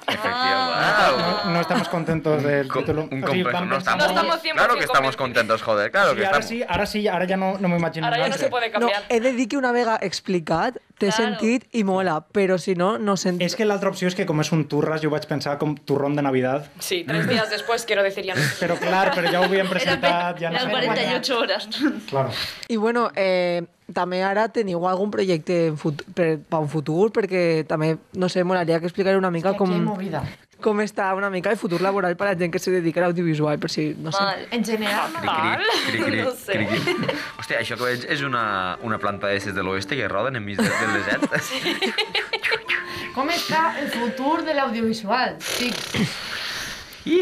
[SPEAKER 6] Efectivamente.
[SPEAKER 2] No estamos contentos del
[SPEAKER 6] Con-
[SPEAKER 2] título.
[SPEAKER 6] un
[SPEAKER 2] O sigui,
[SPEAKER 6] compenso,
[SPEAKER 2] van
[SPEAKER 6] no
[SPEAKER 2] pensar-
[SPEAKER 6] estamos,
[SPEAKER 7] No estamos 100%
[SPEAKER 6] claro que estamos contentos, joder, claro que
[SPEAKER 2] Sí, ara
[SPEAKER 6] estamos.
[SPEAKER 2] sí, ara sí, ara ja no, no m'ho imagino.
[SPEAKER 7] Ahora ya no
[SPEAKER 2] l'altre.
[SPEAKER 7] se puede
[SPEAKER 3] No,
[SPEAKER 7] cambiar.
[SPEAKER 5] eh,
[SPEAKER 3] he de dir que una vega explicat, té
[SPEAKER 4] Claro.
[SPEAKER 3] sentit i mola, però si no, no sent...
[SPEAKER 2] És que l'altra opció és que com és un turras, jo ho vaig pensar com turrón de Navidad.
[SPEAKER 7] Sí, tres días después quiero decir ya no.
[SPEAKER 2] Però clar, però ja ho havien
[SPEAKER 4] Eren
[SPEAKER 2] presentat, ja no sé.
[SPEAKER 4] 48 hores. [LAUGHS]
[SPEAKER 2] Claro.
[SPEAKER 3] I bueno, eh, també ara teniu algun projecte en fut per, per un futur? Perquè també, no sé, molaria que explicaré una mica
[SPEAKER 5] Aquí hay
[SPEAKER 3] com,
[SPEAKER 5] movida.
[SPEAKER 3] com està una mica el futur laboral per a la gent que se dedica a l'audiovisual, per si, no sé.
[SPEAKER 4] Mal.
[SPEAKER 5] En general,
[SPEAKER 6] Cri, cri, cri, cri,
[SPEAKER 7] Ah, [LAUGHS] No sé.
[SPEAKER 6] cri, cri. Hòstia, això que veig és una, una planta d'esses de l'oest que roden enmig de, del desert.
[SPEAKER 5] com està el futur de l'audiovisual? Sí,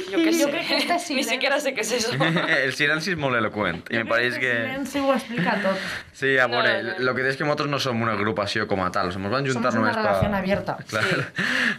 [SPEAKER 7] Yo qué
[SPEAKER 5] Yo creo que este
[SPEAKER 7] sé.
[SPEAKER 5] sí,
[SPEAKER 7] Ni
[SPEAKER 5] ¿eh?
[SPEAKER 7] siquiera sé qué es eso.
[SPEAKER 6] [LAUGHS] El silenci és molt eloqüent i me pareix que...
[SPEAKER 5] silenci ho explica tot.
[SPEAKER 6] Sí, a veure,
[SPEAKER 7] No, no.
[SPEAKER 6] lo que és que nosaltres no som una agrupació com a tal, ens
[SPEAKER 5] Som
[SPEAKER 6] van juntar
[SPEAKER 5] una
[SPEAKER 6] només
[SPEAKER 5] relació
[SPEAKER 6] pa-
[SPEAKER 5] abierta.
[SPEAKER 6] [LAUGHS] Clar,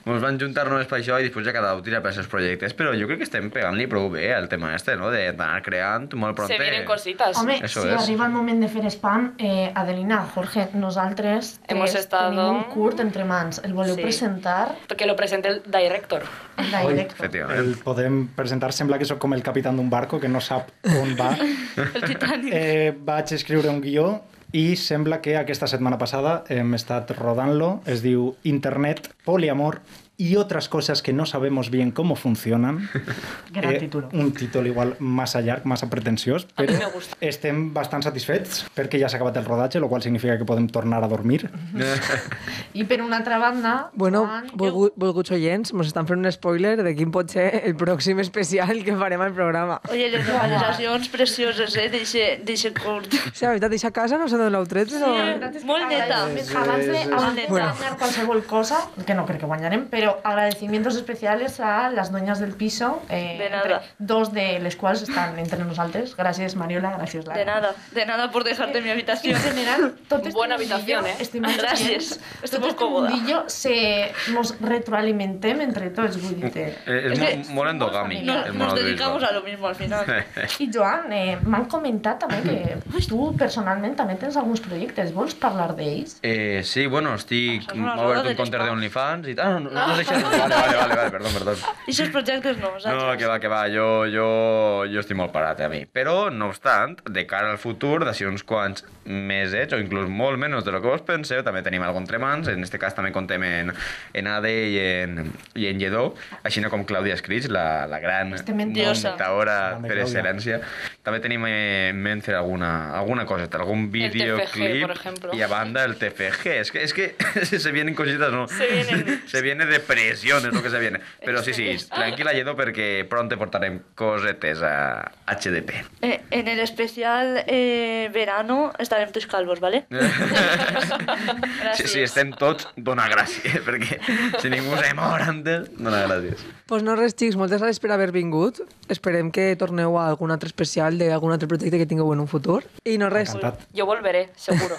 [SPEAKER 6] ens van juntar només per això i després ja cada un tira per els seus projectes, però jo crec que estem pegant-li prou bé al tema este, no? De- D'anar creant molt pront.
[SPEAKER 7] Se vienen cositas.
[SPEAKER 5] Home,
[SPEAKER 6] Eso
[SPEAKER 5] si
[SPEAKER 6] es.
[SPEAKER 5] arriba el moment de fer spam, eh, Adelina, Jorge, nosaltres
[SPEAKER 7] Hemos
[SPEAKER 5] tres
[SPEAKER 7] estado-
[SPEAKER 5] tenim un curt entre mans. El voleu
[SPEAKER 7] Sí.
[SPEAKER 5] presentar
[SPEAKER 7] Que lo presente el director.
[SPEAKER 5] en directe.
[SPEAKER 6] Efectivament.
[SPEAKER 2] El podem presentar, sembla que sóc com el capitán d'un barco que no sap on va.
[SPEAKER 4] [LAUGHS] El Titanic.
[SPEAKER 2] Eh, vaig escriure un guió i sembla que aquesta setmana passada hem estat rodant-lo. Es diu Internet, poliamor y otras cosas que no sabemos bien cómo funcionan.
[SPEAKER 5] Gran
[SPEAKER 2] Eh,
[SPEAKER 5] título.
[SPEAKER 2] Un títol igual massa llarg, massa pretensiós, però
[SPEAKER 7] mi me gusta.
[SPEAKER 2] estem bastant satisfets perquè ja s'ha acabat el rodatge, lo qual significa que podem tornar a dormir.
[SPEAKER 5] I per una altra banda...
[SPEAKER 3] Bueno,
[SPEAKER 5] Joan,
[SPEAKER 3] volgu- volguts oients, ens estan fent un spoiler de quin pot ser el pròxim especial que farem al programa.
[SPEAKER 4] Oye, les recomanacions precioses, eh? Deixe, deixe curt.
[SPEAKER 3] O sigui, la veritat, deixa casa no s'ha donat l'altre, però...
[SPEAKER 5] veritat és que
[SPEAKER 4] Molt neta.
[SPEAKER 5] Abans de, abans de
[SPEAKER 4] Bueno.
[SPEAKER 5] guanyar qualsevol cosa, que no crec que guanyarem, però Pero agradecimientos especiales a las dueñas del piso, eh,
[SPEAKER 4] De nada.
[SPEAKER 5] entre- dos de las cuales están entre nosaltres. Gracias, Mariola, gracias, Lara.
[SPEAKER 4] De nada, de nada por dejarte mi
[SPEAKER 5] En
[SPEAKER 4] habitación.
[SPEAKER 5] general, tot este
[SPEAKER 7] Bona
[SPEAKER 5] mundillo,
[SPEAKER 7] habitación, eh?
[SPEAKER 5] estimats
[SPEAKER 4] Gràcies.
[SPEAKER 5] oients,
[SPEAKER 4] Estic
[SPEAKER 5] tot
[SPEAKER 4] molt
[SPEAKER 5] este
[SPEAKER 4] còmoda.
[SPEAKER 5] mundillo se, nos retroalimentem entre tots, vull dir que-
[SPEAKER 6] Eh,
[SPEAKER 4] És
[SPEAKER 6] És, molt, molt endogàmic,
[SPEAKER 5] No,
[SPEAKER 4] Nos,
[SPEAKER 6] el
[SPEAKER 4] nos
[SPEAKER 6] monoturisme.
[SPEAKER 4] dedicamos a lo mismo al final.
[SPEAKER 5] I Joan, eh, m'han comentat també que tu personalment també tens alguns projectes, vols parlar d'ells?
[SPEAKER 6] Eh, sí, bueno, estic...
[SPEAKER 4] Això és una
[SPEAKER 6] M'ha
[SPEAKER 4] roda
[SPEAKER 6] obert
[SPEAKER 4] de
[SPEAKER 6] un compte
[SPEAKER 4] descans.
[SPEAKER 6] d'OnlyFans i tal. Ah, no, no, no, deixes... Vale, vale, vale, vale, perdó, perdó.
[SPEAKER 4] I aquests projectes no, saps?
[SPEAKER 6] No, que va, que va, jo, jo, jo estic molt parat eh, a mi. Però, no obstant, de cara al futur, d'ací uns quants mesets, o inclús molt menys de lo que vos penseu, també tenim algun tremans, en este cas també contem en, en Ade i en, i en Lledó, així no com Clàudia Escrits, la, la gran
[SPEAKER 5] Este
[SPEAKER 4] mendiosa.
[SPEAKER 6] muntadora
[SPEAKER 9] Grande
[SPEAKER 6] per
[SPEAKER 9] Clàudia.
[SPEAKER 6] excel·lència. També tenim eh, en mente alguna, alguna coseta, algun
[SPEAKER 7] El
[SPEAKER 6] videoclip.
[SPEAKER 7] TFG, por ejemplo.
[SPEAKER 6] I a banda el TFG. Es que, es que [LAUGHS] se vienen cositas, ¿no?
[SPEAKER 7] Se vienen.
[SPEAKER 6] Se viene depresión, es lo que se viene. Pero sí, sí,
[SPEAKER 7] Extremes.
[SPEAKER 6] tranquil·la, Lledó, perquè pront te portarem cosetes a HDP.
[SPEAKER 4] Eh, en el especial eh, verano estarem tots calvos, ¿vale?
[SPEAKER 6] Si, si estem tots, dona gràcies, perquè si ningú se mor antes, dona gràcies.
[SPEAKER 3] pues no res, xics, moltes gràcies per haver vingut. Esperem que torneu a algun altre especial d'algun altre projecte que tingueu en un futur. I no res,
[SPEAKER 9] Encantat.
[SPEAKER 7] Yo volveré,
[SPEAKER 5] [LAUGHS]
[SPEAKER 7] seguro.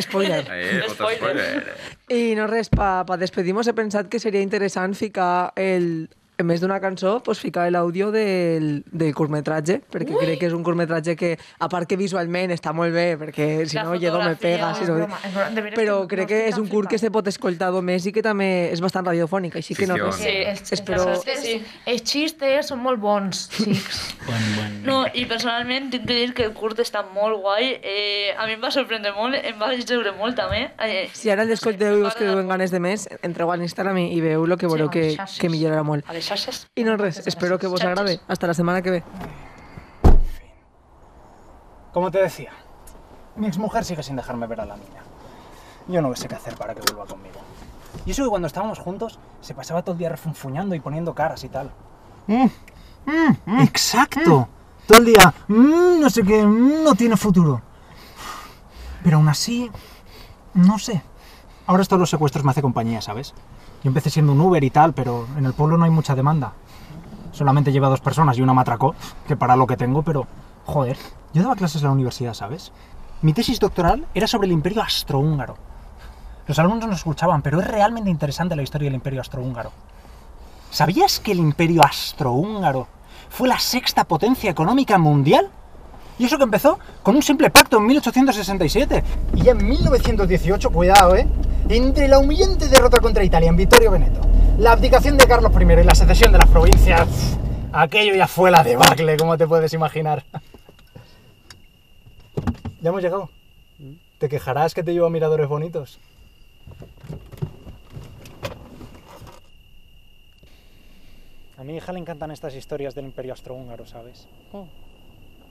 [SPEAKER 3] spoiler.
[SPEAKER 6] Eh, pot
[SPEAKER 7] Spoiler.
[SPEAKER 6] spoiler.
[SPEAKER 3] I no res, pa, pa despedirnos he pensat que seria interessant ficar el en més d'una cançó, pues, ficar l'àudio del, del curtmetratge, perquè Ui! crec que és un curtmetratge que, a part que visualment està molt bé, perquè si
[SPEAKER 4] La
[SPEAKER 3] no, Lledó me
[SPEAKER 4] fotografia,
[SPEAKER 3] pega.
[SPEAKER 4] no,
[SPEAKER 3] Si
[SPEAKER 5] és
[SPEAKER 3] no...
[SPEAKER 5] broma, és broma. De veres
[SPEAKER 3] Però
[SPEAKER 5] que
[SPEAKER 3] crec
[SPEAKER 5] no
[SPEAKER 3] que
[SPEAKER 5] estic
[SPEAKER 3] és un
[SPEAKER 5] tan
[SPEAKER 3] curt que se
[SPEAKER 5] flipada.
[SPEAKER 3] pot escoltar només i que també és bastant radiofònic, així que no
[SPEAKER 6] Sí,
[SPEAKER 3] res.
[SPEAKER 5] Eh,
[SPEAKER 6] sí,
[SPEAKER 7] Sí,
[SPEAKER 5] els, els,
[SPEAKER 3] espero-
[SPEAKER 5] els,
[SPEAKER 7] sí.
[SPEAKER 5] els, els xistes són molt
[SPEAKER 3] [LAUGHS]
[SPEAKER 5] bons, xics.
[SPEAKER 9] Buen, buen.
[SPEAKER 4] No, i personalment tinc que dir que el curt està molt guai. Eh, a mi em va sorprendre molt, em va riure molt també. Eh,
[SPEAKER 3] Si ara el descolteu i us quedeu amb ganes de més, entreu a l'Instagram i i veieu el que voleu
[SPEAKER 5] Sí,
[SPEAKER 3] que,
[SPEAKER 5] xarxes.
[SPEAKER 3] que millorarà molt.
[SPEAKER 7] A ver, Sashes.
[SPEAKER 3] I no res, espero que vos agrade. Hasta la setmana que ve.
[SPEAKER 2] Como te decía, mi exmujer sigue sin dejarme ver a la mina. Yo no sé qué hacer para que vuelva conmigo. Y eso que cuando estábamos juntos se pasaba todo el día refunfuñando y poniendo caras y tal. Exacto. Todo el día, "Mm, no sé qué, mm, no tiene futuro. Pero aún así, no sé. Ahora esto de los secuestros me hace compañía, ¿sabes? Yo empecé siendo un Uber y tal, pero en el pueblo no hay mucha demanda. Solamente lleva dos personas y una me atracó, que para lo que tengo, pero joder, yo daba clases en la universidad, ¿sabes? Mi tesis doctoral era sobre el imperio astrohúngaro. Los alumnos no escuchaban, pero es realmente interesante la historia del imperio astrohúngaro. ¿Sabías que el imperio astrohúngaro fue la sexta potencia económica mundial? Y eso que empezó con un simple pacto en 1867. Y ya en 1918, cuidado, ¿eh? Entre la humillante derrota contra Italia en Vittorio Veneto, la abdicación de Carlos I y la secesión de las provincias, pf, aquello ya fue la debacle, como te puedes imaginar. Ya hemos llegado. Te quejarás que te llevo a miradores bonitos. A mi hija le encantan estas historias del imperio astrohúngaro, ¿sabes?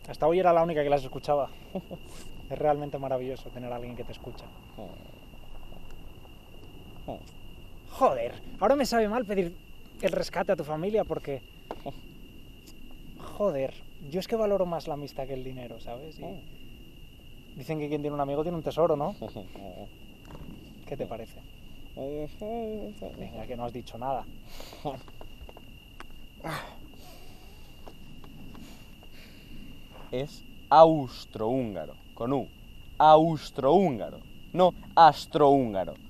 [SPEAKER 2] Hasta hoy era la única que las escuchaba. [LAUGHS] Es realmente maravilloso tener a alguien que te escucha. Joder, ahora me sabe mal pedir el rescate a tu familia porque... Joder, yo es que valoro más la amistad que el dinero, ¿sabes? Y Dicen que quien tiene un amigo tiene un tesoro, ¿no? ¿Qué te parece? Venga, que no has dicho nada.
[SPEAKER 10] es austrohúngaro, con U. Austrohúngaro, no astrohúngaro.